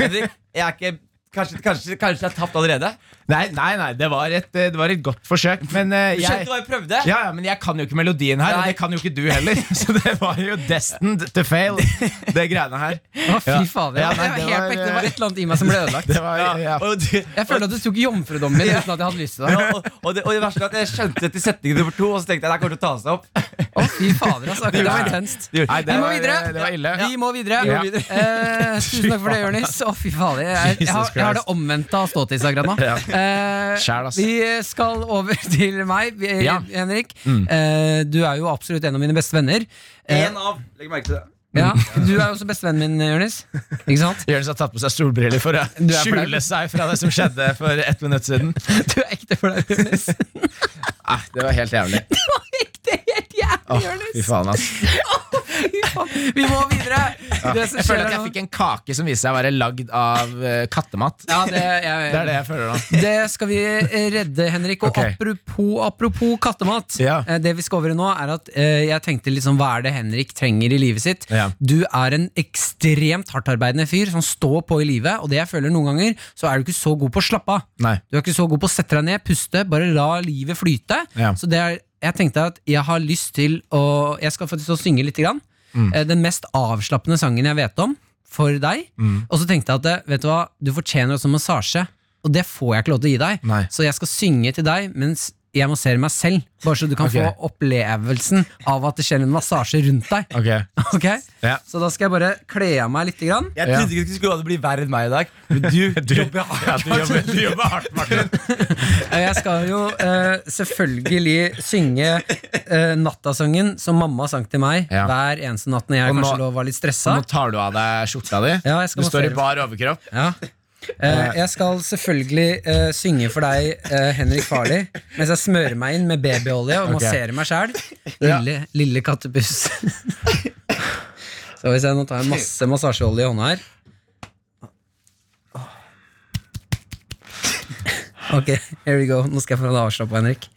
S4: Henrik, jeg er ikke Kanskje, kanskje, kanskje jeg har tapt allerede?
S3: Nei, nei, nei, det var et, eh, det var et godt forsøk, men eh,
S4: Du skjønte
S3: jeg
S4: hva jeg prøvde?
S3: ja, ja, men jeg kan jo ikke melodien her, og
S4: Nei.
S3: det kan jo ikke du heller. Så det var jo destined to fail, det greiene her.
S2: å, fy
S3: Ja.
S2: fader.
S3: Ja,
S2: det,
S3: nei,
S2: var
S3: det
S2: helt
S3: var,
S2: på ekte, det
S3: eh,
S2: var et eller annet i meg som ble ødelagt.
S3: Det var, ja.
S4: Og du,
S2: Jeg føler at du tok jomfrudommen min uten at jeg hadde lyst til det.
S4: Ja, og, og, det, og det verste er at jeg skjønte etter setning nummer to, og så tenkte jeg det her kommer til å ta seg opp.
S2: Å, fy fader, altså. Det var intenst.
S3: Nei, det
S2: vi må
S3: var- eh,
S2: videre.
S3: det var ille.
S2: Vi må videre.
S3: Ja.
S2: Eh, tusen takk for det, Jonis. Å, fy fader. Jeg, jeg, har, jeg har det omvendte av ståtiss akkurat nå. Eh,
S3: Skjæl, ass.
S2: vi skal over til meg, vi-
S3: Ja. Mm.
S2: Henrik. Eh, du er jo absolutt en av mine beste venner. Eh,
S4: En av. Legg merke til det.
S2: ja, du er jo også bestevennen min, Jonis. Ikke sant?
S3: Jonis har tatt på seg solbriller for å
S2: Du er flau.
S3: skjule seg fra det som skjedde for ett minutt siden.
S2: Du er ekte flau, Jonis.
S3: Ah, det var helt jævlig.
S2: Det er helt jævlig,
S3: Åh,
S2: Jonis.
S3: fy faen, ass.
S2: Fy faen. Vi må videre! Det som
S3: Jeg føler
S2: skjer
S3: at jeg
S2: nå
S3: fikk en kake som viste seg å være lagd av eh, kattemat.
S2: ja, det,
S3: Det
S2: jeg,
S3: er det jeg føler nå.
S2: Det skal vi eh, redde, Henrik. Og
S3: Ok.
S2: apropos, apropos kattemat.
S3: Ja.
S2: eh, Det vi skal over i nå, er at eh, jeg tenkte liksom hva er det Henrik trenger i livet sitt?
S3: Ja.
S2: Du er en ekstremt hardtarbeidende fyr som står på i livet, og det jeg føler noen ganger, så er du ikke så god på å slappe av.
S3: Nei.
S2: Du er ikke så god på å sette deg ned, puste, bare la livet flyte.
S3: Ja.
S2: Så det er, jeg tenkte at jeg har lyst til å Jeg skal faktisk også synge litt. Grann.
S3: Mm.
S2: Eh, Den mest avslappende sangen jeg vet om, for deg.
S3: Mm.
S2: Og så tenkte jeg at eh, vet du hva, du fortjener også massasje, og det får jeg ikke lov til å gi deg.
S3: Nei.
S2: Så jeg skal synge til deg mens jeg masserer meg selv, bare så du kan
S3: Ok.
S2: få opplevelsen av at det skjer en massasje rundt deg.
S3: Ok.
S2: Ok?
S3: Ja.
S2: Så da skal jeg bare kle av meg lite grann.
S4: Jeg
S3: Ja.
S4: trodde ikke du skulle bli verre enn meg i dag. Men du, jobber hardt.
S3: Ja, du, jobber, du jobber hardt, Martin.
S2: Eh, Jeg skal jo eh, selvfølgelig synge eh, nattasangen som mamma sang til meg
S3: Ja.
S2: hver eneste natt når jeg
S3: Og nå-
S2: kanskje lå og var litt
S3: Så
S2: stressa.
S3: nå tar du av deg skjorta di.
S2: Ja, jeg skal
S3: du står i
S2: massere.
S3: bar overkropp.
S2: Ja. Eh, jeg skal selvfølgelig eh, synge for deg, eh, Henrik Farli, mens jeg smører meg inn med babyolje og
S3: Ok.
S2: masserer meg sjæl.
S3: Ja.
S2: Lille, lille kattepuss. Skal vi se, nå tar jeg masse massasjeolje i hånda her. Ok, here we go. Nå skal jeg få deg avslappa, Henrik.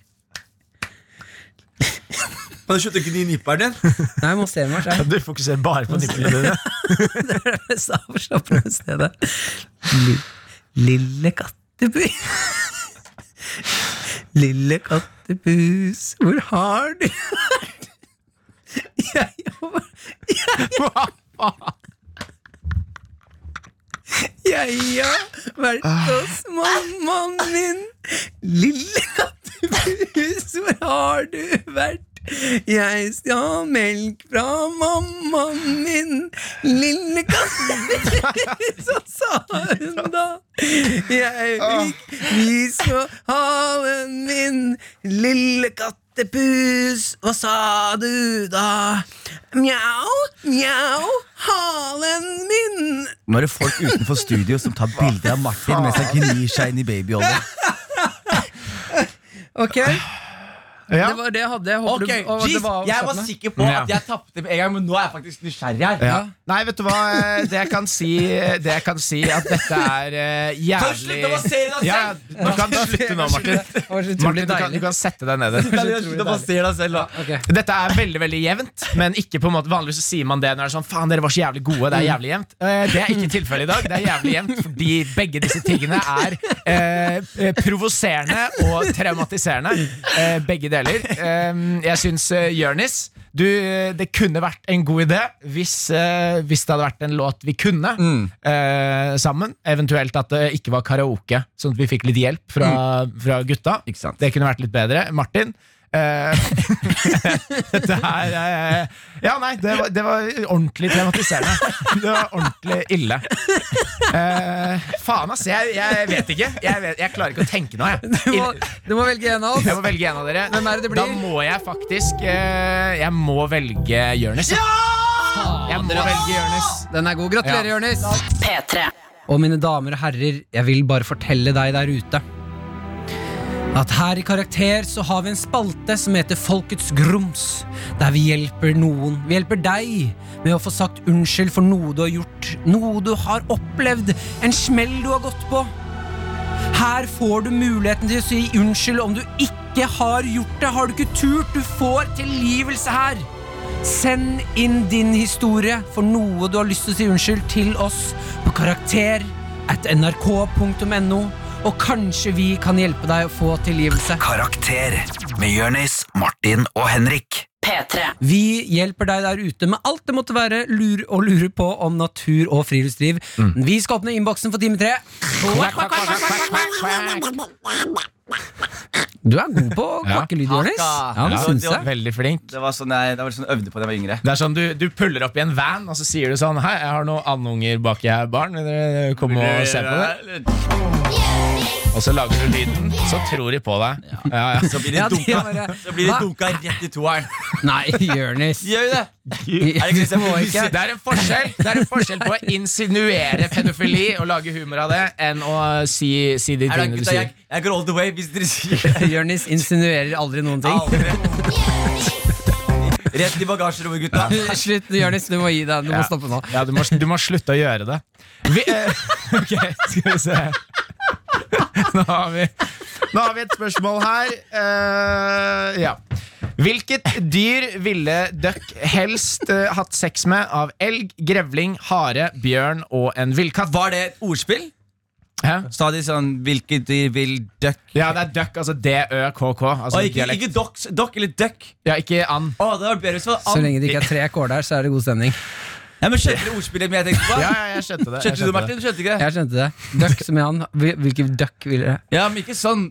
S4: Kan du slutte å gni nipperen din?
S2: Nei, jeg masserer meg sjæl.
S3: Du fokuserer bare på nipplene dine.
S2: mest avslappende stedet. Li- Lille kattepus Lille kattepus, hvor har du vært? Jeg jobber
S3: Hva
S2: Jeg har vært hos mammaen min. Lille kattepus, hvor har du vært? Jeg skal ha melk fra mammaen min. Lille kattepus, så sa hun da. Jeg fikk lys på halen min. Lille kattepus, hva sa du da? Mjau, mjau, halen min.
S4: Nå er det folk utenfor studio som tar bilder av Martin mens han gnir seg inn i babyolje.
S2: Ok,
S3: Ja.
S2: det var det jeg hadde. Jeg håper
S4: Ok,
S2: du, og det
S4: jeez,
S2: var
S4: Jeg var
S2: avslappende.
S4: sikker på at jeg tapte med en gang, men nå er jeg faktisk nysgjerrig her.
S3: Ja. Nei, vet du hva? Det jeg kan si, det jeg kan si at dette er eh,
S4: Kan du slutte å
S3: jævlig
S4: massere deg
S3: ja,
S4: selv?
S3: Du kan slutte nå, Martin.
S2: Det var så utrolig
S3: Martin, du kan, du
S2: deilig.
S3: kan sette deg ned.
S4: Kan du Slutte å massere deg selv, da.
S2: Ok.
S3: Dette er veldig veldig jevnt, men ikke på en måte vanligvis så sier man det når det er sånn Faen, dere var så jævlig gode. Det er jævlig jevnt. Eh, Det er ikke tilfellet i dag. Det er jævlig jevnt fordi begge disse tingene er eh, eh, provoserende og traumatiserende. Eh, begge deler. Eh, jeg syns eh, Jonis du, eh, det kunne vært en god idé hvis, eh, hvis det hadde vært en låt vi kunne
S4: Mm.
S3: eh, sammen. Eventuelt at det ikke var karaoke, sånn at vi fikk litt hjelp fra, fra gutta.
S4: Mm. Ikke sant.
S3: Det kunne vært litt bedre. Martin. eh, dette her eh, Ja, nei, det var, det var ordentlig traumatiserende. Det var ordentlig ille. Eh, faen, ass. Jeg, jeg vet ikke. Jeg, vet, jeg klarer ikke å tenke nå,
S2: Du
S3: jeg.
S2: må, du må velge en av
S3: Jeg må
S2: oss.
S3: velge en av dere.
S2: Hvem er det det
S3: Da
S2: blir?
S3: må jeg faktisk eh, Jeg må velge Jonis. Jeg må velge Jonis.
S2: Den er god. Gratulerer,
S3: Ja.
S2: Jonis.
S12: P3.
S2: Og mine damer og herrer, jeg vil bare fortelle deg der ute at her i Karakter så har vi en spalte som heter Folkets grums, der vi hjelper noen. Vi hjelper deg med å få sagt unnskyld for noe du har gjort, noe du har opplevd, en smell du har gått på. Her får du muligheten til å si unnskyld om du ikke har gjort det. Har du ikke turt? Du får tilgivelse her. Send inn din historie for noe du har lyst til å si unnskyld til oss på karakter at nrk.no, og kanskje vi kan hjelpe deg å få tilgivelse.
S1: Karakter med Jørnis, Martin og Henrik.
S12: P3.
S2: Vi hjelper deg der ute med alt det måtte være lur og lure på om natur og friluftsliv. Vi skal åpne innboksen for time tre. Du er god på kvakkelyd, Jonis. Ja, det syns jeg.
S3: Veldig flink.
S4: Det var sånn jeg, det var sånn jeg øvde på da jeg var yngre.
S3: Det er sånn, du, du puller opp i en van, og så sier du sånn Hei, jeg har noen andunger baki her, barn. Vil dere komme og se på det? Og så lager du lyden, så tror de på deg. Ja, ja.
S4: Så blir det
S2: Ja, de
S4: dunka,
S2: bare-
S4: så blir det
S2: Hva?
S4: dunka rett i toeren.
S2: Nei, Jonis.
S4: Gjør vi det? Er det
S2: Du må ikke.
S3: Det er en forskjell Det er en forskjell på å insinuere pedofili og lage humor av det, enn å si, si de
S4: Er det,
S3: tingene du
S4: gutta, jeg,
S3: sier.
S4: jeg går all the way hvis dere sier
S2: Jonis insinuerer aldri noen ting.
S4: aldri. Rett i bagasjerommet, gutta.
S2: Slutt, Jonis. Du må gi deg. Du må stoppe nå.
S3: Ja, du må, du må slutte å gjøre det. Vi, eh, ok, skal vi se. Nå har vi, nå har vi et spørsmål her. Eh, ja. Hvilket dyr ville døkk helst eh, hatt sex med av elg, grevling, hare, bjørn og en villkatt?
S4: Var det et ordspill?
S3: Hæ?
S4: Sa de sånn 'hvilket dyr vil sånn døkk'?
S3: Ja, det er døkk, altså D-Ø-K-K. Altså
S4: Og ikke,
S3: dialekt.
S4: ikke dokk, dokk eller døkk.
S3: Ja, ikke and.
S4: Å, det var bedre hvis det var
S2: Så
S4: and.
S2: lenge det ikke er tre kår der, så er det god stemning.
S4: Ja, men Skjønte dere ordspillet jeg tenkte på?
S3: Ja, ja, jeg skjønte det. jeg
S4: Skjønte du,
S3: skjønte det.
S4: Martin? Du Skjønte ikke det?
S2: Jeg skjønte det. Duck som i han. Hvil- Hvilken duck ville det?
S4: Ja, men ikke sånn.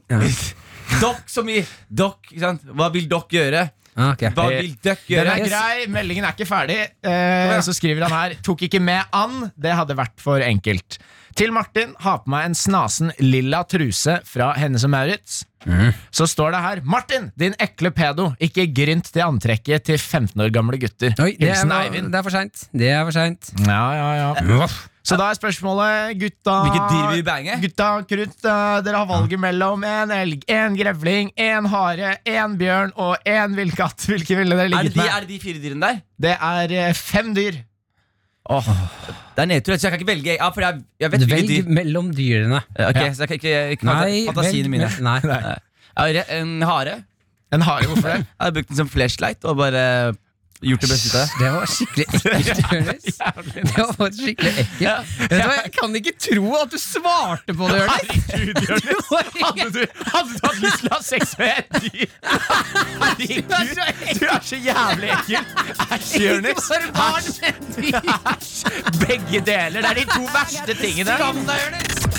S4: Dokk som i dokk. ikke sant? Hva vil dokk gjøre?
S2: Ah, ok.
S4: Hva vil døkk
S3: Den
S4: gjøre?
S3: er grei, meldingen er ikke ferdig. Eh, så skriver han her Tok ikke med and, det hadde vært for enkelt. Til Martin, ha på meg en snasen lilla truse fra Hennes og Maurits. Så står det her Martin, din ekle pedo, ikke grynt til antrekket til 15 år gamle gutter.
S2: Oi, det er,
S3: Hilsen
S2: det
S3: Eivind.
S2: er for seint. Det er for seint.
S3: Ja, ja, ja. Så da er spørsmålet, gutta
S4: Hvilket dyr vil vi bange?
S3: Gutta krutt, eh, dere har valget mellom en elg, en grevling, en hare, en bjørn og en villkatt. Hvilke ville dere
S4: Er det,
S3: ligget
S4: de,
S3: med?
S4: er det de fire dyrene der?
S3: Det er eh, fem dyr.
S4: Det er nedtur, så jeg kan ikke velge. Ja, for jeg, jeg vet hvilke
S2: Velg
S4: dyr. Eh,
S2: mellom dyrene.
S4: Ok, Så jeg kan ikke, ikke
S2: Nei,
S4: fantasiene
S2: velg-
S4: mine.
S2: Nei.
S4: Ja, re- en hare.
S3: En hare, hvorfor det?
S4: Jeg har brukt den som flashlight og bare gjort det beste ut av det.
S2: Det var skikkelig ekkelt, Jonis. Det var faktisk skikkelig ekkelt. Vet du hva, Jeg kan ikke tro at du svarte på det, Jonis.
S3: Herregud, Jonis! Hadde du, hadde du hatt lyst til å ha sex med et dyr? Herregud, du er så jævlig ekkel! Æsj, Jonis.
S2: Ikke bare barn,
S3: Æsj. Begge deler. Det er de to verste tingene.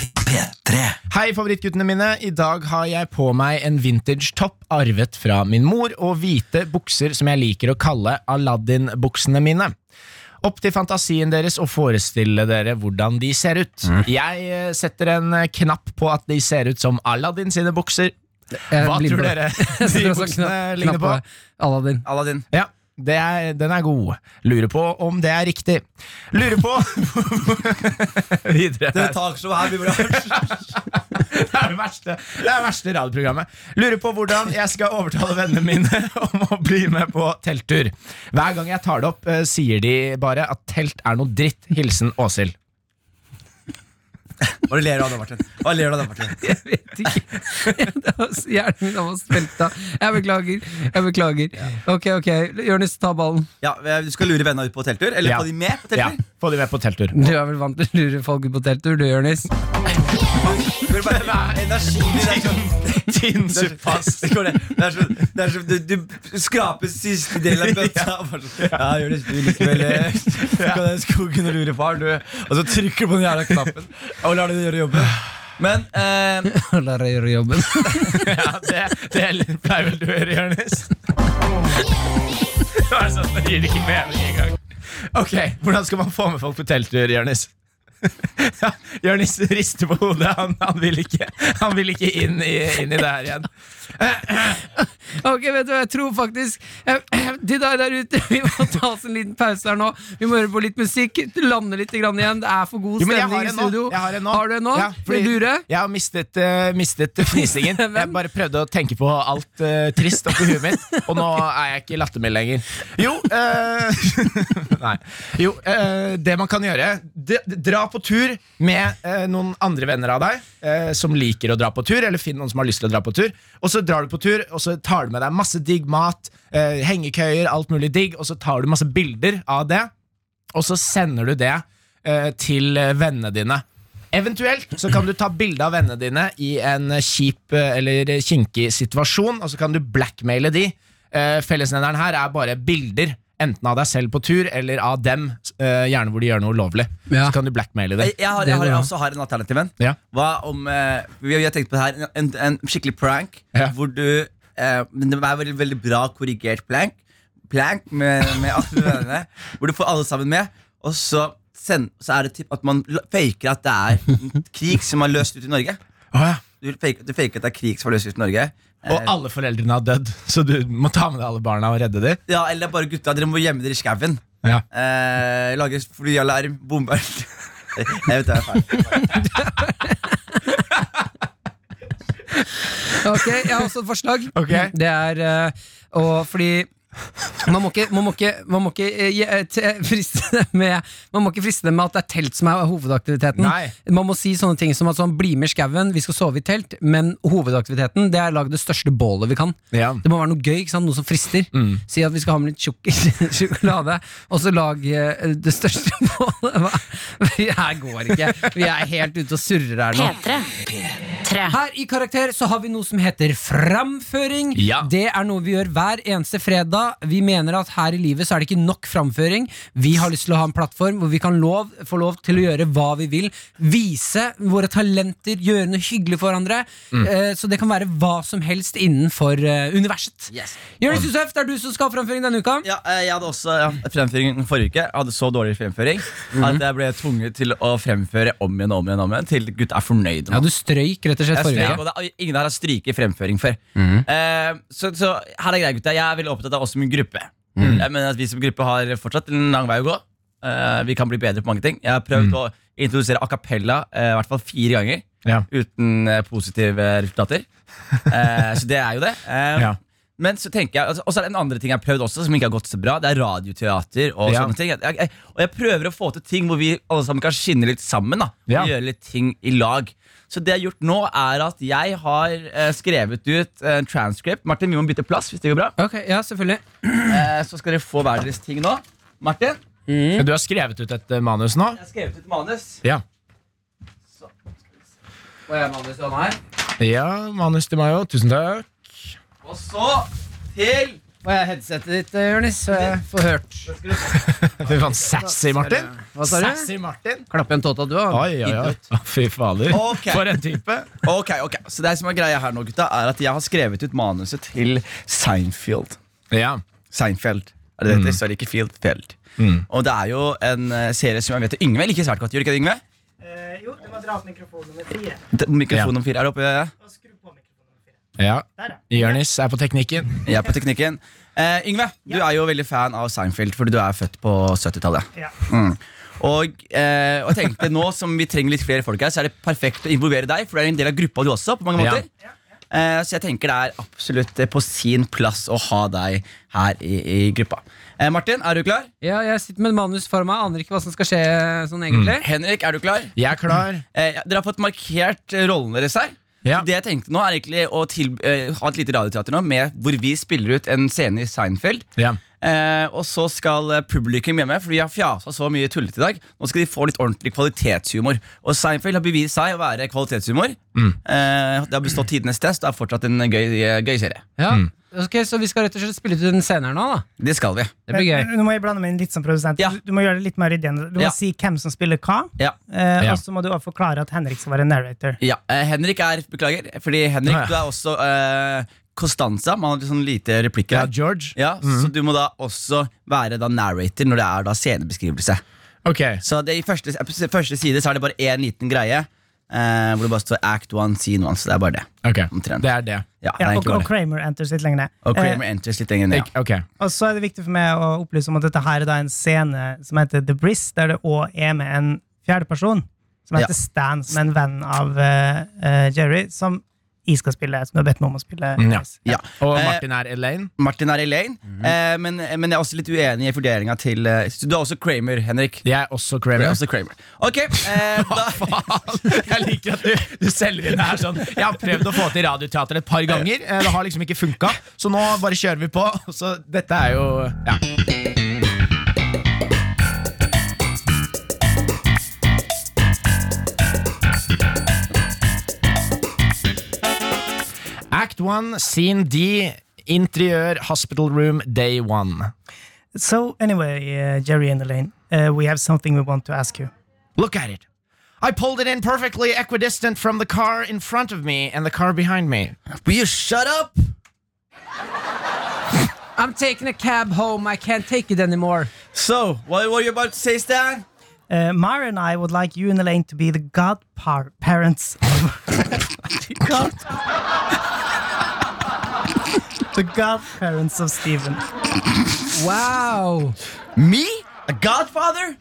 S3: Hei, favorittguttene mine. I dag har jeg på meg en vintage-topp arvet fra min mor, og hvite bukser som jeg liker å kalle Aladdin-buksene mine. Opp til fantasien deres og forestille dere hvordan de ser ut. Jeg eh, setter en eh, knapp på at de ser ut som Aladdin sine bukser.
S2: Jeg
S3: Hva
S2: blir
S3: tror
S2: på det.
S3: dere
S2: Jeg
S3: de
S2: setter også en
S3: buksene
S2: knapp-
S3: ligner
S2: knapp
S3: på?
S2: det. Aladdin.
S4: Aladdin.
S3: Ja, det er, den er god. Lurer på om det er riktig. Lurer på Videre.
S4: Det takshowet her blir bra.
S3: Det er det verste, det er det verste radioprogrammet. Lurer på hvordan jeg skal overtale vennene mine om å bli med på telttur. Hver gang jeg tar det opp, eh, sier de bare at telt er noe dritt. Hilsen Åshild.
S4: Hva ler du av da, Martin? Hva ler du av da, Martin?
S2: Jeg vet ikke. Det var så- Hjernen min var spelta. Jeg beklager. Jeg beklager. Ok, ok. Jonis, ta ballen.
S4: Ja, eh, Du skal lure venna ut på telttur? Eller
S3: Ja.
S4: få de med på
S3: Ja,
S4: telttur?
S3: få de med på telttur.
S2: Du er vel vant til å lure folk ut på telttur, du, Jonis?
S4: Det er bare- Energien din er sånn Tinnsuppast. Det går det. Det er sånn det er sånn- du, du skraper siste del av bøtta. og bare sånn, Ja, gjør det du likevel. eh, Kan den skogen og lure far, du. Og så trykker du på den jævla knappen og lar det gjøre jobben. Men eh,
S2: La deg gjøre jobben.
S3: Ja, det, det pleier vel du å gjøre, Jonis? Det er sånn, det gir ikke mening engang. Ok, hvordan skal man få med folk på telttur, Jonis? Ja, Jonis rister på hodet. Han, han, vil ikke, han vil ikke inn i, inn i det her igjen.
S2: Ok, vet du hva, jeg tror faktisk eh, Til deg der ute, vi må ta oss en liten pause her nå. Vi må høre på litt musikk, lande litt grann igjen. Det er for god
S3: Jo, men jeg har
S2: stemning i
S3: en nå.
S2: studio.
S3: Jeg har en nå.
S2: Har du en nå?
S3: Ja, fordi-
S2: Vil du lure?
S3: Jeg har mistet, eh, mistet fnisingen.
S2: Hvem?
S3: Jeg bare prøvde å tenke på alt eh, trist oppi huet mitt, og nå er jeg ikke lattermild lenger. Jo, eh, nei. jo eh, det man kan gjøre d- Dra på tur med eh, noen andre venner av deg eh, som liker å dra på tur, eller finn noen som har lyst til å dra på tur. Og så drar du på tur, og så tar du med deg masse digg mat, eh, hengekøyer, alt mulig digg, og så tar du masse bilder av det og så sender du det eh, til eh, vennene dine. Eventuelt så kan du ta bilde av vennene dine i en eh, kjip eh, eller kinkig situasjon, og så kan du blackmaile de. Eh, fellesnevneren her er bare bilder. enten av deg selv på tur eller av dem, eh, gjerne hvor de gjør noe ulovlig.
S2: Ja.
S3: Så kan du blackmaile dem.
S4: Jeg, jeg, har, jeg, har, jeg også har en alternativ en.
S3: Ja.
S4: Hva om eh, Vi vi har tenkt på det her. En, en skikkelig prank
S3: Ja.
S4: hvor du eh, Men det er veldig, veldig bra korrigert plank, plank med, med alle vennene. hvor du får alle sammen med, og så, send, så er det typ at man la- faker at det er en krig som er løst ut i Norge.
S3: Å, ja.
S4: Du faker, du faker at det er krig som er løst ut i Norge. Eh,
S3: Og alle foreldrene har dødd, så du må ta med deg alle barna og redde dem.
S4: ja, eller bare gutta, dere må gjemme dere i skauen.
S3: Ja.
S4: Eh, lage flyalarm, bombe Jeg vet det er feil.
S2: Ok, Jeg har også et forslag.
S3: Ok.
S2: Det er eh, å- fordi man må ikke, man må ikke, man må ikke eh, je- eh, te- friste det med Man må ikke friste det med at det er telt som er hovedaktiviteten.
S3: Nei.
S2: Man må si sånne ting som at sånn, bli med i skauen, vi skal sove i telt, men hovedaktiviteten det er å lage det største bålet vi kan.
S3: Ja. Mm.
S2: Det må være noe gøy, ikke sant? noe som frister. Si at vi skal ha med litt tjukk sjokolade, og så lag eh, det største bålet. Hva? Vi her går ikke. Vi er helt ute og surrer her nå.
S12: P3. P3.
S2: Her i Karakter så har vi noe som heter framføring.
S3: Ja.
S2: Det er noe vi gjør hver eneste fredag. Vi mener at her i livet så er det ikke nok framføring. Vi har lyst til å ha en plattform hvor vi kan lov, få lov til å gjøre hva vi vil. Vise våre talenter, gjøre noe hyggelig for hverandre. Eh, så det kan være hva som helst innenfor eh, universet.
S4: Yes.
S2: Jonis Josef, det er du som skal ha framføring denne uka.
S4: Ja, eh, jeg hadde også ja, fremføring forrige uke. Jeg hadde så dårlig fremføring
S2: Mhm.
S4: at jeg ble tvunget til å fremføre om igjen om igjen, om igjen til gutta er fornøyd.
S2: Ja,
S4: med meg.
S2: du strøyk rett og slett
S4: Jeg
S2: forrige Mhm.
S4: strøk,
S2: uke.
S4: og det, er- ingen her har stryket fremføring før. Eh, så, så her er greia, gutta. Jeg er veldig opptatt av oss som gruppe.
S2: Mhm.
S4: Jeg mener at Vi som gruppe har fortsatt en lang vei å gå. Eh, vi kan bli bedre på mange ting. Jeg har prøvd
S2: Mhm.
S4: å introdusere a cappella eh, i hvert fall fire ganger
S3: Ja.
S4: uten eh, positive resultater. Eh, så det er jo det. Eh,
S3: Ja.
S4: Men så tenker jeg, altså, også er det en andre ting jeg har prøvd også som ikke har gått så bra. Det er radioteater og
S3: Ja.
S4: sånne ting. Jeg, jeg, og jeg prøver å få til ting hvor vi alle sammen kan skinne litt sammen. da Og
S3: Ja.
S4: gjøre litt ting i lag. Så det jeg har gjort nå, er at jeg har eh, skrevet ut en transcript. Martin, vi må bytte plass hvis det går bra.
S2: Ok, ja, selvfølgelig.
S4: Eh, så skal dere få hver deres ting nå. Martin, jeg
S3: Men Du har skrevet ut et eh, manus nå?
S4: har skrevet ut manus.
S3: Ja.
S2: Og jeg er Magnus Johan her.
S3: ja manus til meg òg. Tusen takk.
S4: Og så til
S2: Og jeg er headsetet ditt, eh, Jonis, så jeg får hørt.
S3: Fy faen, sassy, Martin.
S2: Hva sa du?
S3: Sassy Martin.
S2: Klappe en tåta du har.
S3: Oi, oi, oi.
S2: Idiot.
S3: Å, Fy fader.
S4: Ok.
S3: For en type.
S4: Ok, ok Så det som er greia her nå, gutta, er at jeg har skrevet ut manuset til Seinfeld.
S3: Ja.
S4: Seinfeld. Er det det heter? Sorry, ikke Field, Feld. Og det er jo en eh, serie som jeg vet Yngve liker svært godt. Gjør ikke det, Yngve?
S17: Eh, jo, du må dra opp mikrofon nummer fire.
S4: D- Mikrofon nummer fire er oppe.
S17: Og skru på mikrofon nummer fire.
S3: ja.
S17: Der, ja.
S3: Jonis er på teknikken.
S4: Jeg er på teknikken. Eh, Yngve, du er jo veldig fan av Seinfeld fordi du er født på 70-tallet.
S17: Ja.
S4: Mm. Og, eh, og jeg tenkte nå som vi trenger litt flere folk her, så er det perfekt å involvere deg, for du er en del av gruppa du også. på mange
S3: Ja.
S4: måter Eh, Så jeg tenker det er absolutt eh, på sin plass å ha deg her i, i gruppa. Eh, Martin, er du klar?
S2: Ja, jeg sitter med manus for meg, aner ikke hva som skal skje sånn egentlig.
S4: Henrik, er du klar?
S3: Jeg er klar.
S4: Eh, ja, dere har fått markert eh, rollene deres her.
S3: Ja.
S4: Så Det jeg tenkte nå er egentlig å til, eh, ha et lite radioteater nå med hvor vi spiller ut en scene i Seinfeld.
S3: Ja.
S4: Eh, og så skal eh, publikum hjemme, for vi har fjasa så mye tullete i dag. Nå skal de få litt ordentlig kvalitetshumor. Og Seinfeld har bevist seg å være kvalitetshumor.
S3: Mm.
S4: Eh, det har bestått tidenes test og er fortsatt en gøy, gøy serie.
S2: Ja. Ok, Så vi skal rett og slett spille ut en scene her nå, da.
S4: Det skal vi.
S2: Det blir gøy.
S17: Men Nå må jeg blande meg inn litt som produsent.
S4: Ja.
S17: Du, du må gjøre det litt mer ryddig. enn det. Du må
S4: Ja.
S17: si hvem som spiller hva,
S4: Ja.
S17: eh,
S3: Ja.
S17: og så må du også forklare at Henrik skal være narrator.
S4: Ja, eh, Henrik er Beklager, fordi Henrik,
S3: Å, ja.
S4: du er også eh, Costanza. Man har litt sånn lite replikker.
S3: Ja, Mm.
S4: her.
S3: George.
S4: Ja, Så du må da også være da narrator når det er da scenebeskrivelse.
S3: Ok.
S4: Så det, i første, ep- første side så er det bare én liten greie. eh, hvor det bare står Act One, Scene One. Så det er bare det.
S3: ok.
S4: Omtrent.
S3: Det er det.
S4: Ja, det
S17: Ja,
S4: er
S17: og,
S4: egentlig
S17: og
S4: bare det.
S17: Kramer enters litt lenger ned.
S4: Og
S17: Eh,
S4: Kramer enters litt lenger ned.
S3: Ik- Ok.
S17: Og så er det viktig for meg å opplyse om at dette her er da en scene som heter The Briss, der det òg er med en fjerdeperson som heter
S4: Ja.
S17: Stan, som er en venn av eh, eh, Jerry, som jeg skal spille, som du har bedt meg om å spille.
S3: Mm, ja.
S17: Briss.
S4: Ja.
S3: Og
S4: Eh,
S3: Martin er Elaine.
S4: Martin er Elaine, eh, men, men jeg er også litt uenig i vurderinga til eh, så Du er også Kramer, Henrik.
S3: Jeg er også
S4: Du er
S3: Kramer.
S4: også Kramer. Ok, eh, da,
S3: Jeg liker at du, du selger inn det her sånn. Jeg har prøvd å få til radioteater et par ganger. Eh, Det har liksom ikke funka, så nå bare kjører vi på. Så dette er jo ja. Act 1, scene D, interiør, hospital room, day 1.
S17: So, anyway, uh, Jerry and Elaine, uh, we have something we want to ask you.
S3: Look at it. I pulled it in perfectly equidistant from the car in front of me and the car behind me.
S4: Will you shut up?
S2: I'm taking a cab home. I can't take it anymore.
S4: So, what were you about to say, Stan?
S17: Uh, Mara and I would like you and Elaine to be the godparents. God. the godparents of Stephen.
S2: Wow.
S4: Me? A godfather?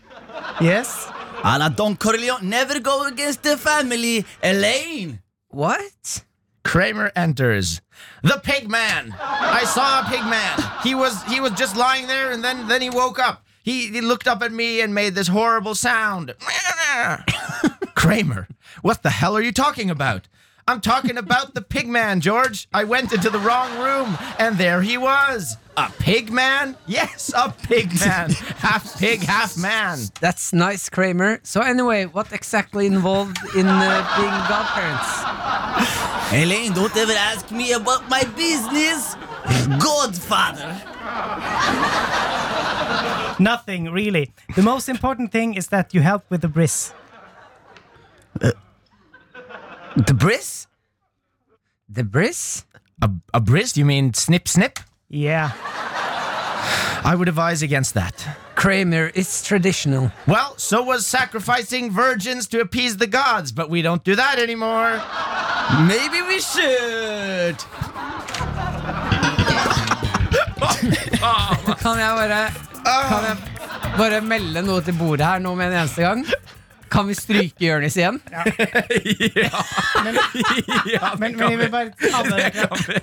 S17: Yes.
S4: A la Don Corleone, never go against the family. Elaine!
S2: What?
S3: Kramer enters. The pig man. I saw a pig man. He was he was just lying there and then then he woke up. He, he looked up at me and made this horrible sound. Kramer, what the hell are you talking about? I'm talking about the pig man, George. I went into the wrong room and there he was. A pig man? Yes, a pig man. half pig, half man.
S2: That's nice, Kramer. So, anyway, what exactly involved in uh, being godparents?
S4: Elaine, don't ever ask me about my business, godfather.
S17: Nothing, really. The most important thing is that you help with the bris.
S4: Uh, the bris?
S2: The bris?
S3: A, a bris? You mean snip snip?
S17: Yeah.
S3: I would advise against that.
S2: Kramer, it's traditional.
S3: Well, so was sacrificing virgins to appease the gods, but we don't do that anymore.
S4: Maybe we should.
S2: kan jeg bare Kan jeg bare melde noe til bordet her nå med en eneste gang? Kan vi stryke Jonis igjen?
S17: Ja. ja. Men, ja, men, men jeg vil bare avbryte.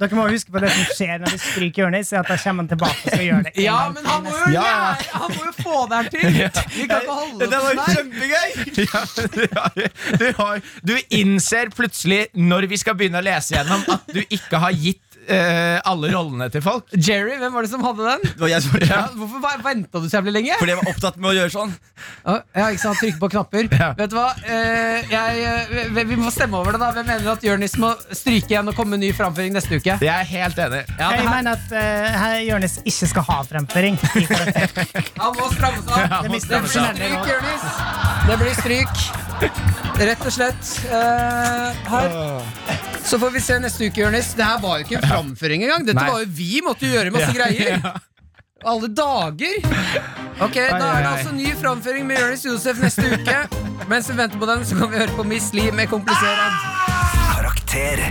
S17: Dere må huske på det som skjer når vi stryker Jonis, er at da kommer han tilbake og skal gjøre det.
S2: Ja, men han må, jo, ja. han må jo få det her til! Vi kan ikke holde
S4: Det
S2: oss
S4: var jo
S2: der.
S4: kjempegøy!
S3: Ja, men du, har- du, har, du innser plutselig, når vi skal begynne å lese gjennom, at du ikke har gitt eh, alle rollene til folk.
S2: Jerry, hvem var det som hadde den?
S4: Det var jeg som var
S2: Ja, hvorfor venta du så jævlig lenge?
S4: Fordi jeg var opptatt med å gjøre sånn.
S2: Å, Ja, ikke sant, Trykke på knapper.
S3: Ja.
S2: Vet du hva? Eh, jeg, eh, vi- vi må stemme over det, da. Hvem mener at Jonis må stryke igjen og komme med ny framføring neste uke?
S3: Jeg er helt enig.
S2: Ja, det
S17: Jeg
S2: her,
S17: mener at eh, her Jonis ikke skal ha fremføring. i karakter.
S2: han må stramme seg opp.
S17: Det
S2: Det
S17: mister
S2: blir
S17: jeg.
S2: stryk, Jonis. Det blir stryk. Rett og slett. Eh, her. Så får vi se neste uke, Jonis. Det her var jo ikke en framføring engang. Dette
S3: Nei.
S2: var jo vi måtte jo gjøre masse greier. Alle dager! Ok, Da er det
S3: ai.
S2: altså ny framføring med Jonis Josef neste uke. Mens vi venter på den, så kan vi høre på Miss Lee med 'Komplisert'.
S1: Karakter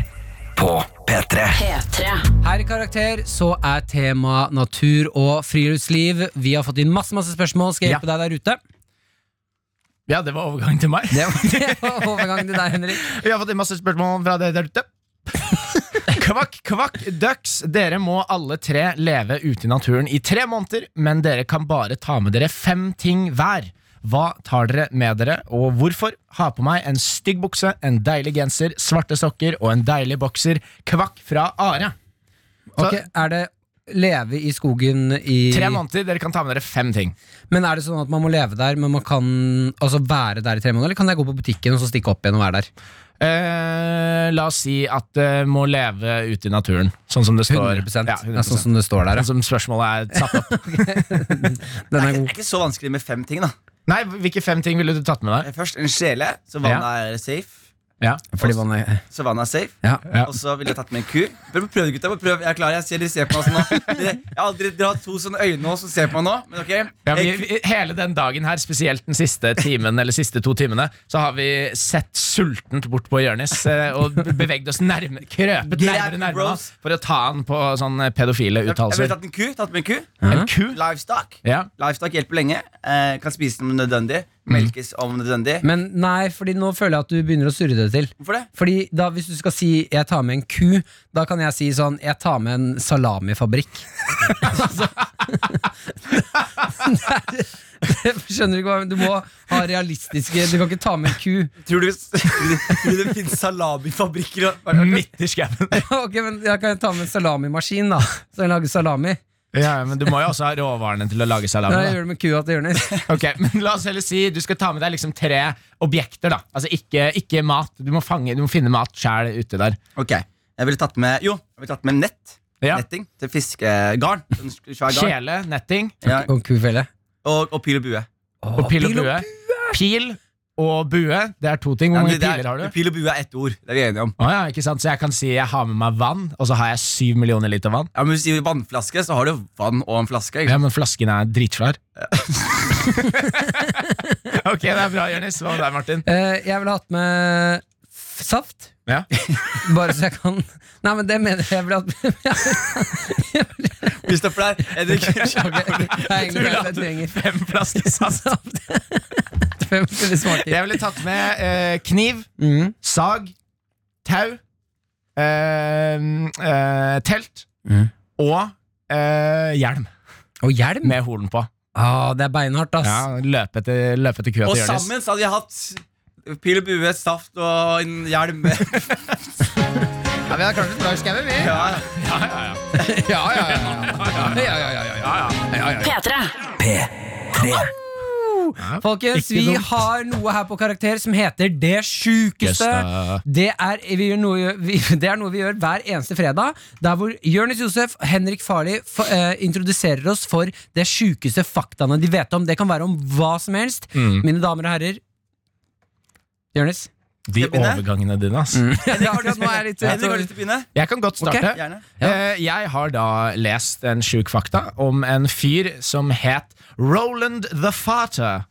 S1: på P3.
S12: P3.
S2: Her i Karakter så er tema natur og friluftsliv. Vi har fått inn masse masse spørsmål. Skal jeg hjelpe deg der ute?
S3: Ja, det var overgang til meg.
S2: Det var, det var overgangen til deg, Henrik.
S3: Vi har fått inn masse spørsmål fra dere der ute. Kvakk, kvakk, ducks. Dere må alle tre leve ute i naturen i tre måneder, men dere kan bare ta med dere fem ting hver. Hva tar dere med dere, og hvorfor? Ha på meg en stygg bukse, en deilig genser, svarte sokker og en deilig bokser. Kvakk fra Are. Så,
S2: Ok, Er det leve i skogen i
S3: Tre måneder, dere kan ta med dere fem ting.
S2: Men er det sånn at man må leve der, men man kan altså være der i tre måneder? Eller kan jeg gå på butikken og så stikke opp igjen og være der?
S3: Eh, la oss si at det må leve ute i naturen, sånn som det står.
S2: 100%,
S3: Ja,
S2: Det er sånn som det står der, ja.
S3: Sånn som spørsmålet er satt opp.
S2: Den
S4: Det
S2: er
S4: er
S2: god.
S4: ikke så vanskelig med fem ting. da Eh,
S3: Nei, Hvilke fem ting ville du tatt med deg?
S4: Først en sjele, så vannet er safe.
S3: Ja.
S2: Fordi man er
S4: Så vannet er safe
S2: ja.
S3: Ja.
S4: Og så ville jeg tatt med en ku. Prøv, prøv gutta, bare prøv. Jeg er klar, jeg ser dere ser på meg sånn nå. Dere- Jeg har aldri dere har to sånne øyne nå som ser på meg nå. Men ok
S3: Ja, vi,
S4: En ku-
S3: vi, hele den dagen her, spesielt den siste timen Eller siste to timene, så har vi sett sultent bort på Jonis eh, og bevegd oss nærme, krøpet
S4: Grab
S3: nærmere nærmere
S4: bros.
S3: han for å ta han på sånne pedofile
S4: Jeg ville
S3: uttalelser. Mm.
S4: tatt en ku. Tatt med en ku.
S3: En ku?
S4: Livestock.
S3: Ja.
S4: Livestock hjelper lenge. Eh, kan spise den om nødvendig. Melkes om nødvendig.
S2: Men nei, fordi nå føler jeg at du begynner å surre det til.
S4: Hvorfor det?
S2: Fordi da Hvis du skal si 'jeg tar med en ku', da kan jeg si sånn 'jeg tar med en salamifabrikk'. altså, det er- det- skjønner du ikke hva jeg mener? Du må ha realistiske Du kan ikke ta med en ku.
S4: Tror du, tror du det finnes salamifabrikker og
S3: Midt i skauen.
S2: ok, men Da kan jeg ta med en salamimaskin, da. Så jeg lager salami.
S3: Ja, men du må jo også ha råvarene til å lage
S2: Da gjør jeg
S3: salami.
S2: det med kua til Jonis.
S3: Da. Ok, men La oss heller si du skal ta med deg liksom tre objekter. da Altså Ikke, ikke mat. Du må, fange, du må finne mat sjæl ute der.
S4: Ok, jeg ville tatt med Jo, jeg ville tatt med nett. Netting til fiskegarn. En sk- svær garn.
S3: Kjele, netting
S4: Ja.
S2: Og kufelle.
S4: Og, og pil og bue.
S3: og pil og bue. Pil og bue, det er to ting. Hvor
S4: Nei,
S3: mange
S4: det- det er-
S3: piler har du?
S4: Pil og bue er ett ord. Det er vi enige om.
S3: Å ja, ikke sant? Så jeg kan si jeg har med meg vann, og så har jeg syv millioner liter vann.
S4: Ja, men Hvis du sier vannflaske, så har du vann og en flaske. Ikke?
S3: Ja,
S4: sant?
S3: Men flasken er dritsvær. ok, det er bra, Jonis. Hva med deg, Martin?
S2: Eh, jeg ville hatt med f- saft.
S3: Ja.
S2: Bare så jeg kan Nei, men det mener jeg. Jeg ville hatt med
S4: Hvis det er for deg, Henrik.
S2: Det er egentlig det jeg trenger.
S3: Fem flasker saft.
S2: Fem skulle smake.
S3: Jeg ville tatt med eh, kniv, sag, tau, eh, eh, telt og eh, hjelm
S2: Og hjelm.
S3: med horn på.
S2: Ah, det er beinhardt, ass.
S3: Ja, løpe etter, løpe etter kua
S4: Og
S3: til Jonis.
S4: sammen så hadde vi hatt pil og bue, saft og en hjelm.
S3: Ja, vi har kanskje et bra skaue, vi. Ja, ja, ja.
S12: P3.
S2: Folkens, vi har noe her på Karakter som heter Det sjukeste.
S3: Jøss,
S2: Det er, vi gjør noe, vi, det er noe vi gjør hver eneste fredag, der hvor Jonis Josef og Henrik Farli fa- eh, introduserer oss for det sjukeste faktaene de vet om. Det kan være om hva som helst.
S3: Mm.
S2: Mine damer og herrer. Jonis?
S3: De
S4: jeg begynne?
S3: overgangene dine, ass.
S2: Ja, akkurat nå er jeg litt
S4: Henrik, har du lyst til å begynne?
S3: Jeg kan godt starte.
S4: Ok, gjerne.
S3: Eh, Jeg har da lest en sjuk fakta om en fyr som het Roland the Farter.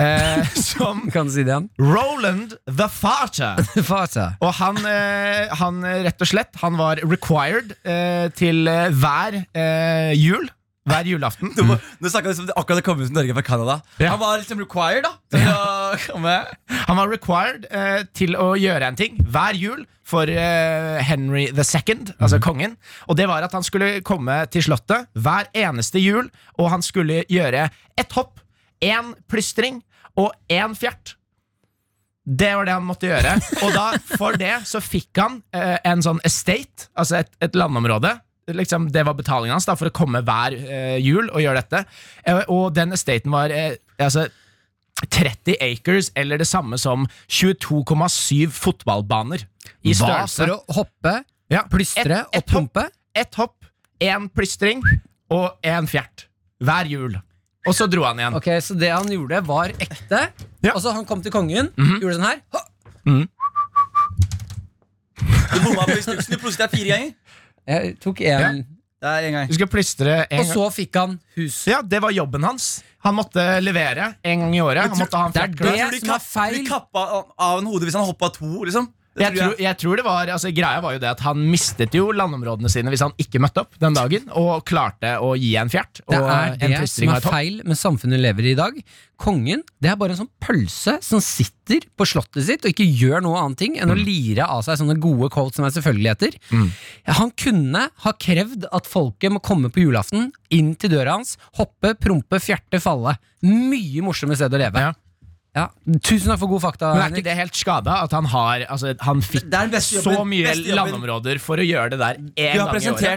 S3: Eh, som
S2: Kan du si det igjen?
S3: Roland the Farter.
S2: Fata.
S3: Og han, eh, han eh, rett og slett Han var required eh, til eh, hver eh, jul. Hver julaften.
S4: Du må- Nå snakka vi som om det akkurat hadde kommet ut til Norge fra Canada.
S3: Ja.
S4: Han var liksom required, da. Til å komme.
S3: Han var required eh, til å gjøre en ting hver jul for eh, Henry the Second, altså kongen. Og det var at han skulle komme til slottet hver eneste jul, og han skulle gjøre ett hopp, én plystring og én fjert. Det var det han måtte gjøre. Og da, for det så fikk han eh, en sånn estate, altså et, et landområde. Liksom, det var betalingen hans da, for å komme hver eh, jul og gjøre dette. Eh, og den estaten var eh, altså, 30 acres, eller det samme som 22,7 fotballbaner i
S2: Hva
S3: størrelse.
S2: for å hoppe,
S3: Ja,
S2: plystre
S3: ett
S2: og pumpe?
S3: Hopp, ett hopp, én plystring og én fjert. Hver jul. Og så dro han igjen.
S2: Ok, Så det han gjorde, var ekte.
S3: Ja. Mhm.
S2: Og så han kom til kongen, gjorde sånn her. Hå!
S4: Du bomma på instruksen. Du plutselig er fire ganger.
S2: Jeg tok én,
S4: Det er en gang.
S3: Du skal plystre en
S2: og
S3: gang.
S2: så fikk han hus.
S3: Ja, det var jobben hans. Han måtte levere en gang i året. Han måtte ha en
S2: det er det
S3: fjert klar.
S4: Tror du
S2: som er
S4: kap-
S2: feil.
S4: Blir kappa av- av en hode hvis han hoppa to, liksom? Det
S3: Jeg tror, jeg tror det var, altså Greia var jo det at han mistet jo landområdene sine hvis han ikke møtte opp den dagen, og klarte å gi en fjert. Og
S2: Det er
S3: en
S2: det som
S3: plystring og
S2: er
S3: et hopp.
S2: feil med samfunnet vi lever i i dag. Kongen det er bare en sånn pølse som sitter på slottet sitt og ikke gjør noe annet ting enn å
S3: Mm.
S2: lire av seg sånne gode quotes som er selvfølgeligheter. Han kunne ha krevd at folket må komme på julaften, inn til døra hans, hoppe, prompe, fjerte, falle. Mye morsommere sted å leve.
S3: Ja.
S2: Ja. Tusen takk for gode fakta.
S3: Men er
S2: Henrik.
S3: ikke det helt skada at han har Altså, han fikk
S4: Det er den beste
S3: så
S4: jobben,
S3: mye
S4: beste jobben.
S3: landområder for å gjøre det der én
S4: Du
S3: gang
S4: har
S3: i året.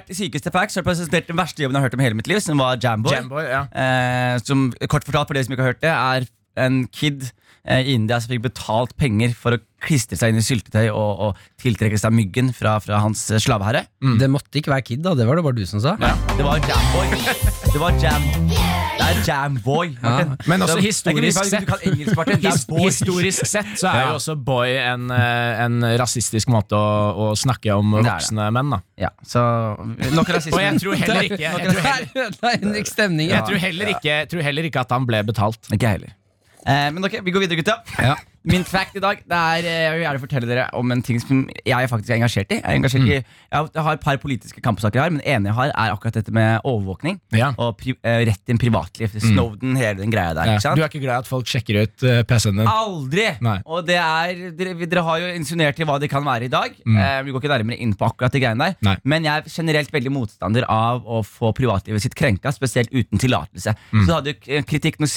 S4: presentert i sykeste facts har du presentert den verste jobben jeg har hørt om i hele mitt liv, som var Jamboy.
S3: Jamboy, ja.
S4: Eh, som kort fortalt for dere som ikke har hørt det, er en kid eh, i India som fikk betalt penger for å klistre seg inn i syltetøy og, og tiltrekke seg myggen fra, fra hans eh, slaveherre.
S3: Mm.
S2: Det måtte ikke være Kid, da. Det var det bare du som sa.
S4: Det var Jamboy. Det var Jam... Det er Jamboy, Martin.
S3: Men også
S4: Det er-
S3: historisk
S4: det er ikke mye feil at du kan engelsk, Martin. Det er
S3: His,
S4: boy.
S3: historisk sett så er jo også boy en, eh, en rasistisk måte å, å snakke om
S4: er det.
S3: voksne menn, da.
S4: Ja, så nok rasisme.
S3: Og jeg tror heller ikke Jeg tror heller,
S2: Der ødela Henrik stemningen.
S3: jeg tror heller, ikke, jeg tror heller ikke at han ble betalt.
S4: Ikke jeg heller. Eh, men ok, vi går videre, gutta. Min fact i dag det er, eh, Jeg vil gjerne fortelle dere om en ting som jeg faktisk er engasjert i. Jeg, er
S3: Mm.
S4: engasjert i, jeg har et par politiske kampsaker her, men den ene jeg har, er akkurat dette med overvåkning.
S3: Ja. Mm.
S4: Og pri eh, rett til en privatliv. Snowden, hele den greia der.
S3: Ja.
S4: ikke sant? Ah.
S3: Du er ikke glad i at folk sjekker ut eh, PC-en din?
S4: Aldri!
S3: Nei.
S4: Og det er, dere, dere har jo insinuert i hva det kan være i dag. Eh, vi går ikke nærmere inn på akkurat de greiene der.
S3: Mm. Nei.
S4: Men jeg er generelt veldig motstander av å få privatlivet sitt krenka, spesielt uten tillatelse. Så du hadde jo k- kritikk når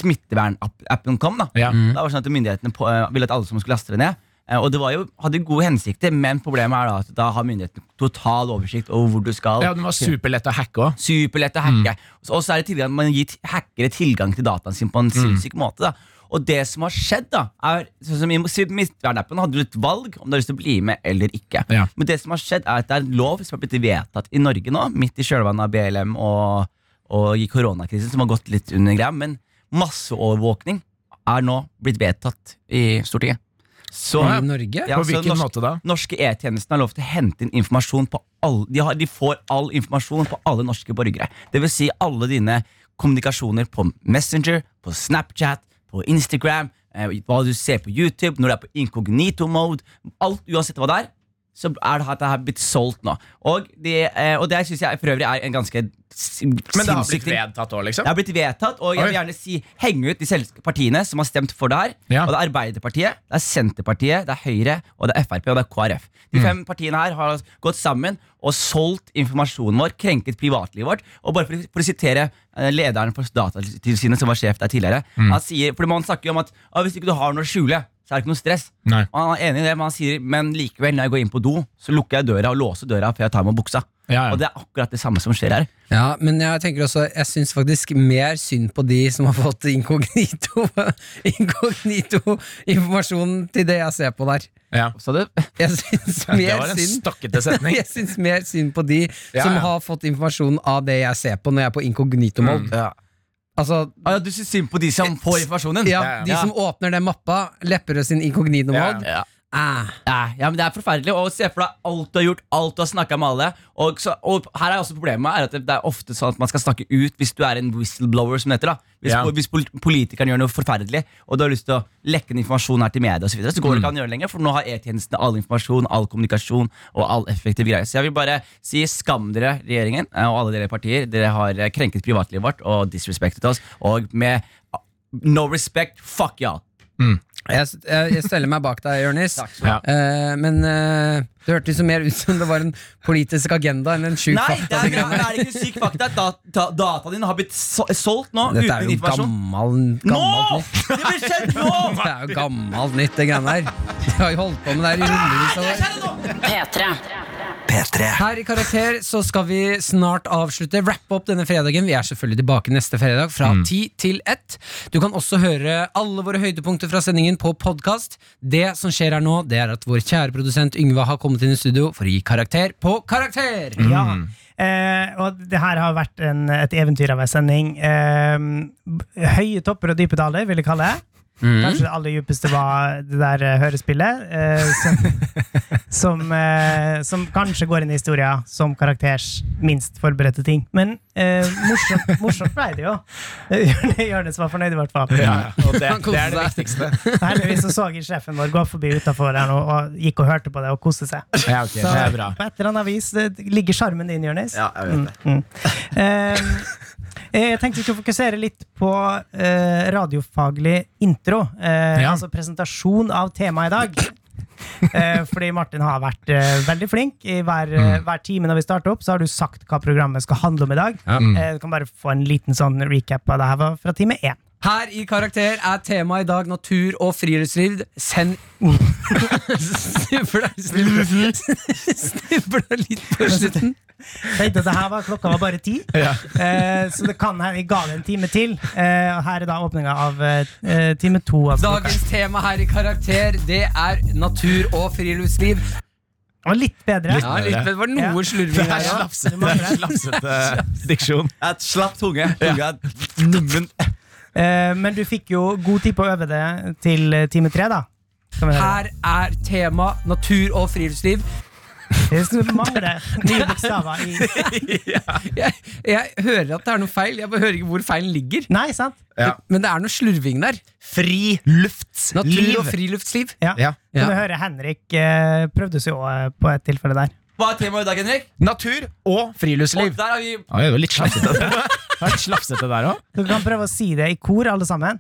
S4: smittevernappen kom. Da
S3: Mm. Ja. Mm.
S4: Da var det sånn at myndighetene på, eh, ville at alle som skulle laste det ned. Eh, Og det var jo, hadde gode hensikter, men problemet er da at da har myndighetene total oversikt over hvor du skal.
S3: Ja, den var superlett å hacke òg.
S4: Mm. Superlett å hacke. Og så- Og så er det tilgang, man gir t- hackere tilgang til dataen sin på en sinnssyk måte. Da. Og det som har skjedd, da er sånn som i Midtvernappen hadde du et valg om du har lyst til å bli med eller ikke.
S3: Ja.
S4: Men det som har skjedd, er at det er en lov som har blitt vedtatt i Norge nå, midt i kjølvannet av BLM og, og i koronakrisen, som har gått litt under greia, men masseovervåkning er nå blitt vedtatt i Stortinget. Så-
S2: I Norge?
S4: Ja,
S3: På
S4: så
S3: hvilken måte da?
S4: Norske E-tjenesten har lov til å hente inn informasjon på alle de, har, de får all informasjon på alle norske borgere. Det vil si alle dine kommunikasjoner på Messenger, på Snapchat, på Instagram, eh, hva du ser på YouTube, når du er på incognito mode. Alt, uansett hva det er, så er det at det her blitt solgt nå. Og det, eh, og det syns jeg for øvrig er en ganske sinnssyk
S3: Men det har blitt
S4: ting.
S3: vedtatt òg, liksom?
S4: Det har blitt vedtatt, og jeg vil gjerne si henge ut de selsk- partiene som har stemt for det her.
S3: Ja.
S4: Og det er Arbeiderpartiet, det er Senterpartiet, det er Høyre, og det er Frp og det er KrF.
S3: Mm.
S4: De fem partiene her har gått sammen og solgt informasjonen vår, krenket privatlivet vårt. Og bare for, for å sitere eh, lederen for Datatilsynet, som var sjef der tidligere
S3: Mm.
S4: han sier, For man snakker jo om at «Ah, hvis ikke du har noe å skjule, så er det ikke noe stress.
S3: Nei.
S4: Og han er enig i det, men han sier Men likevel, når jeg går inn på do, så lukker jeg døra og låser døra før jeg tar meg buksa.
S3: Ja, ja.
S4: Og det er akkurat det samme som skjer her.
S2: Ja, men jeg tenker også Jeg syns faktisk mer synd på de som har fått inkognito Inkognito informasjon til det jeg ser på der.
S3: Ja.
S4: Så det
S2: Jeg syns
S3: Det
S2: mer
S3: var en
S2: synd
S3: stokkete setning.
S2: Jeg syns mer synd på de
S3: Ja,
S2: som
S3: ja.
S2: har fått informasjon av det jeg ser på når jeg er på inkognito-mode.
S3: Mm,
S2: Altså,
S4: Ah, ja, du syns synd på de som får informasjonen?
S2: ja,
S3: ja.
S2: de som åpner den mappa, Lepperød sin inkognito-mode.
S4: Ja.
S2: Ah.
S4: Nei, ja, men Det er forferdelig. Og se for deg alt du har gjort, alt du har snakka med alle. Og, så, og her er også problemet er at det er ofte sånn at man skal snakke ut hvis du er en whistleblower. som det heter da Hvis,
S3: Ja.
S4: hvis pol- politikeren gjør noe forferdelig, og du har lyst til å lekke den informasjonen her til media, og så, videre, så går det ikke an å gjøre det lenger. For nå har E-tjenesten all informasjon, all kommunikasjon og all effektiv greie. Så jeg vil bare si skam dere, regjeringen eh, og alle dere partier. Dere har eh, krenket privatlivet vårt og disrespektet oss. Og med ah, no respect, fuck y'all.
S2: Jeg, s- jeg, jeg steller meg bak deg, Jonis.
S4: Takk
S3: du ha.
S2: Eh, men eh, det hørtes jo mer ut som det var en politisk agenda enn en sjuk
S4: Nei, det er, det
S2: faktaprogram.
S4: er ikke syk fakta. Da, da, dataen din har blitt so solgt nå.
S2: Dette er
S4: uten
S2: jo
S4: informasjon.
S2: gammal,
S4: Nå!
S2: gammalt nytt.
S4: Det blir skjedd nå!
S2: Det er jo gammalt nytt, det greiene der. De har jo holdt på med det her i hundrevis av år.
S12: P3.
S1: P3.
S2: Her i Karakter så skal vi snart avslutte, rappe opp denne fredagen. Vi er selvfølgelig tilbake neste fredag fra
S3: Mm.
S2: ti til ett. Du kan også høre alle våre høydepunkter fra sendingen på podkast. Det som skjer her nå, det er at vår kjære produsent Yngve har kommet inn i studio for å gi karakter på karakter.
S3: Mm.
S17: Ja. Eh, og det her har vært en, et eventyr av en sending. Eh, b- høye topper og dype daler, vil jeg kalle det. Kanskje det aller djupeste var det der eh, hørespillet, eh, som, som, eh, som kanskje går inn i historia som karakters minst forberedte ting. Men eh, morsomt, morsomt ble det jo. Jonis var fornøyd, i hvert fall.
S3: Ja, ja. Og det,
S2: Han koser
S3: det er det
S2: seg.
S3: viktigste.
S17: Heldigvis så, så jeg sjefen vår gå forbi utafor her nå og gikk og hørte på det og koste seg.
S3: Ja, ok, det er bra.
S17: På et eller annet vis det ligger sjarmen din, Jonis.
S4: Ja, jeg vet det.
S17: Mm. Eh, jeg tenkte vi skulle fokusere litt på eh, radiofaglig intro. eh,
S3: Ja.
S17: Altså presentasjon av temaet i dag. Eh, fordi Martin har vært eh, veldig flink. I hver, eh, hver time når vi starter opp, så har du sagt hva programmet skal handle om i dag. Eh, du kan bare få en liten sånn recap av det her var fra time én.
S2: Her i Karakter er temaet i dag natur og friluftsliv. Send Snubla Snubla litt på slutten.
S17: Tenkte at det her var, klokka var bare ti, eh, så det kan her, jeg ga det en time til. Eh, og her er da åpninga av eh, time to. Altså, klokka.
S2: Dagens tema her i Karakter, det er natur og friluftsliv.
S17: det var litt bedre.
S2: Ja, litt, men det var noe
S17: Ja.
S2: slurving
S3: Det er
S2: her. ja.
S3: slafsete, det er eh, slafsete diksjon.
S4: Et slapp tunge. Tunga er nummen.
S17: Eh, men du fikk jo god tid på å øve det til eh, time tre, da. Skal vi høre.
S2: Her er tema natur og friluftsliv.
S17: Det mangler nye bokstaver i
S2: Jeg, jeg hører at det er noe feil, jeg bare hører ikke hvor feilen ligger.
S17: Nei, sant?
S3: Ja.
S2: Men det er noe slurving der.
S3: Fri luft.
S2: Natur og
S3: Liv.
S2: friluftsliv.
S17: Ja.
S3: Ja.
S17: Kan du
S2: Ja.
S17: høre Henrik eh, prøvde seg jo eh, på et tilfelle der.
S4: Hva er temaet i dag, Henrik?
S3: Natur og
S4: Og
S3: friluftsliv.
S4: der har vi
S3: Oi, det var litt slafsete. Det var litt slafsete der òg.
S17: Dere kan prøve å si det i kor, alle sammen.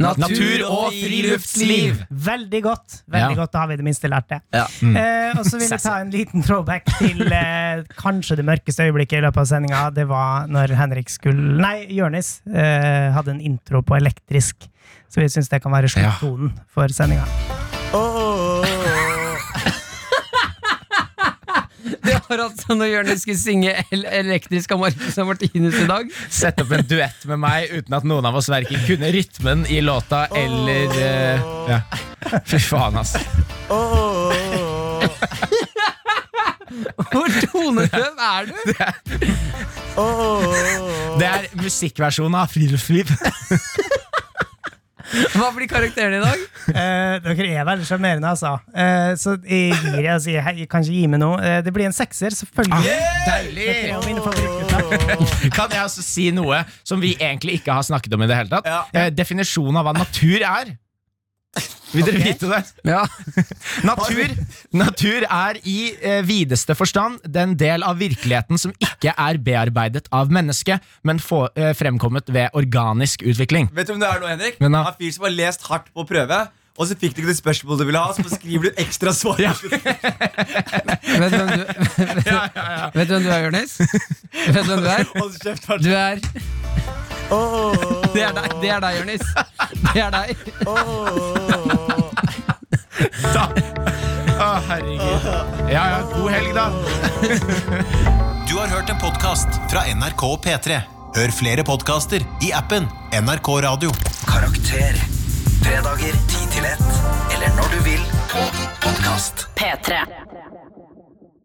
S2: Natur og
S4: friluftsliv.
S17: Veldig godt. Veldig
S3: Ja.
S17: godt, Da har vi det minste lært det.
S4: Ja.
S17: Eh, og så vil jeg ta en liten throwback til eh, kanskje det mørkeste øyeblikket i løpet av sendinga. Det var når Henrik skulle Nei, Jonis eh, hadde en intro på elektrisk. Så vi syns det kan være sluttonen for sendinga.
S2: Det var altså når Jonis skulle synge el elektrisk av Marcus og Martinus i dag.
S3: Sett opp en duett med meg uten at noen av oss verken kunne rytmen i låta eller eh, ja. Fy faen, ass.
S2: Hvor tonedøv er du?
S3: Det er musikkversjonen av friluftsliv.
S2: Hva blir karakterene i dag?
S17: Eh, dere er veldig sjarmerende, altså. Eh, så jeg gir jeg, sier, hei, kan ikke gi meg noe. Eh, det blir en sekser, selvfølgelig.
S3: Ah, Deilig!
S17: Dette er jo mine favorittgutter.
S3: Kan jeg også si noe som vi egentlig ikke har snakket om i det hele tatt? Eh, Definisjonen av hva natur er. Vil dere vite det? Natur, natur er i eh, videste forstand den del av virkeligheten som ikke er bearbeidet av mennesket, men få, eh, fremkommet ved organisk utvikling.
S4: Vet du om det er nå, Henrik?
S3: Men da-
S4: Han fyr som har lest hardt på prøve, og så fikk du ikke det spørsmålet du ville ha, så skriver du ekstra svar.
S2: Vet du hvem du, Vet du hvem du er, Jonis? Vet du hvem du er?
S4: Hold kjeft, Martin.
S2: Du er Det er deg, det er deg, Jonis. Det er deg.
S3: Å, herregud. Ja, ja, god helg, da.
S18: Du har hørt en podcast fra NRK P3. Hør flere podcaster i appen NRK Radio.
S1: Karakter. Fredager 10 til 1. Eller når du vil på podkast.
S12: P3.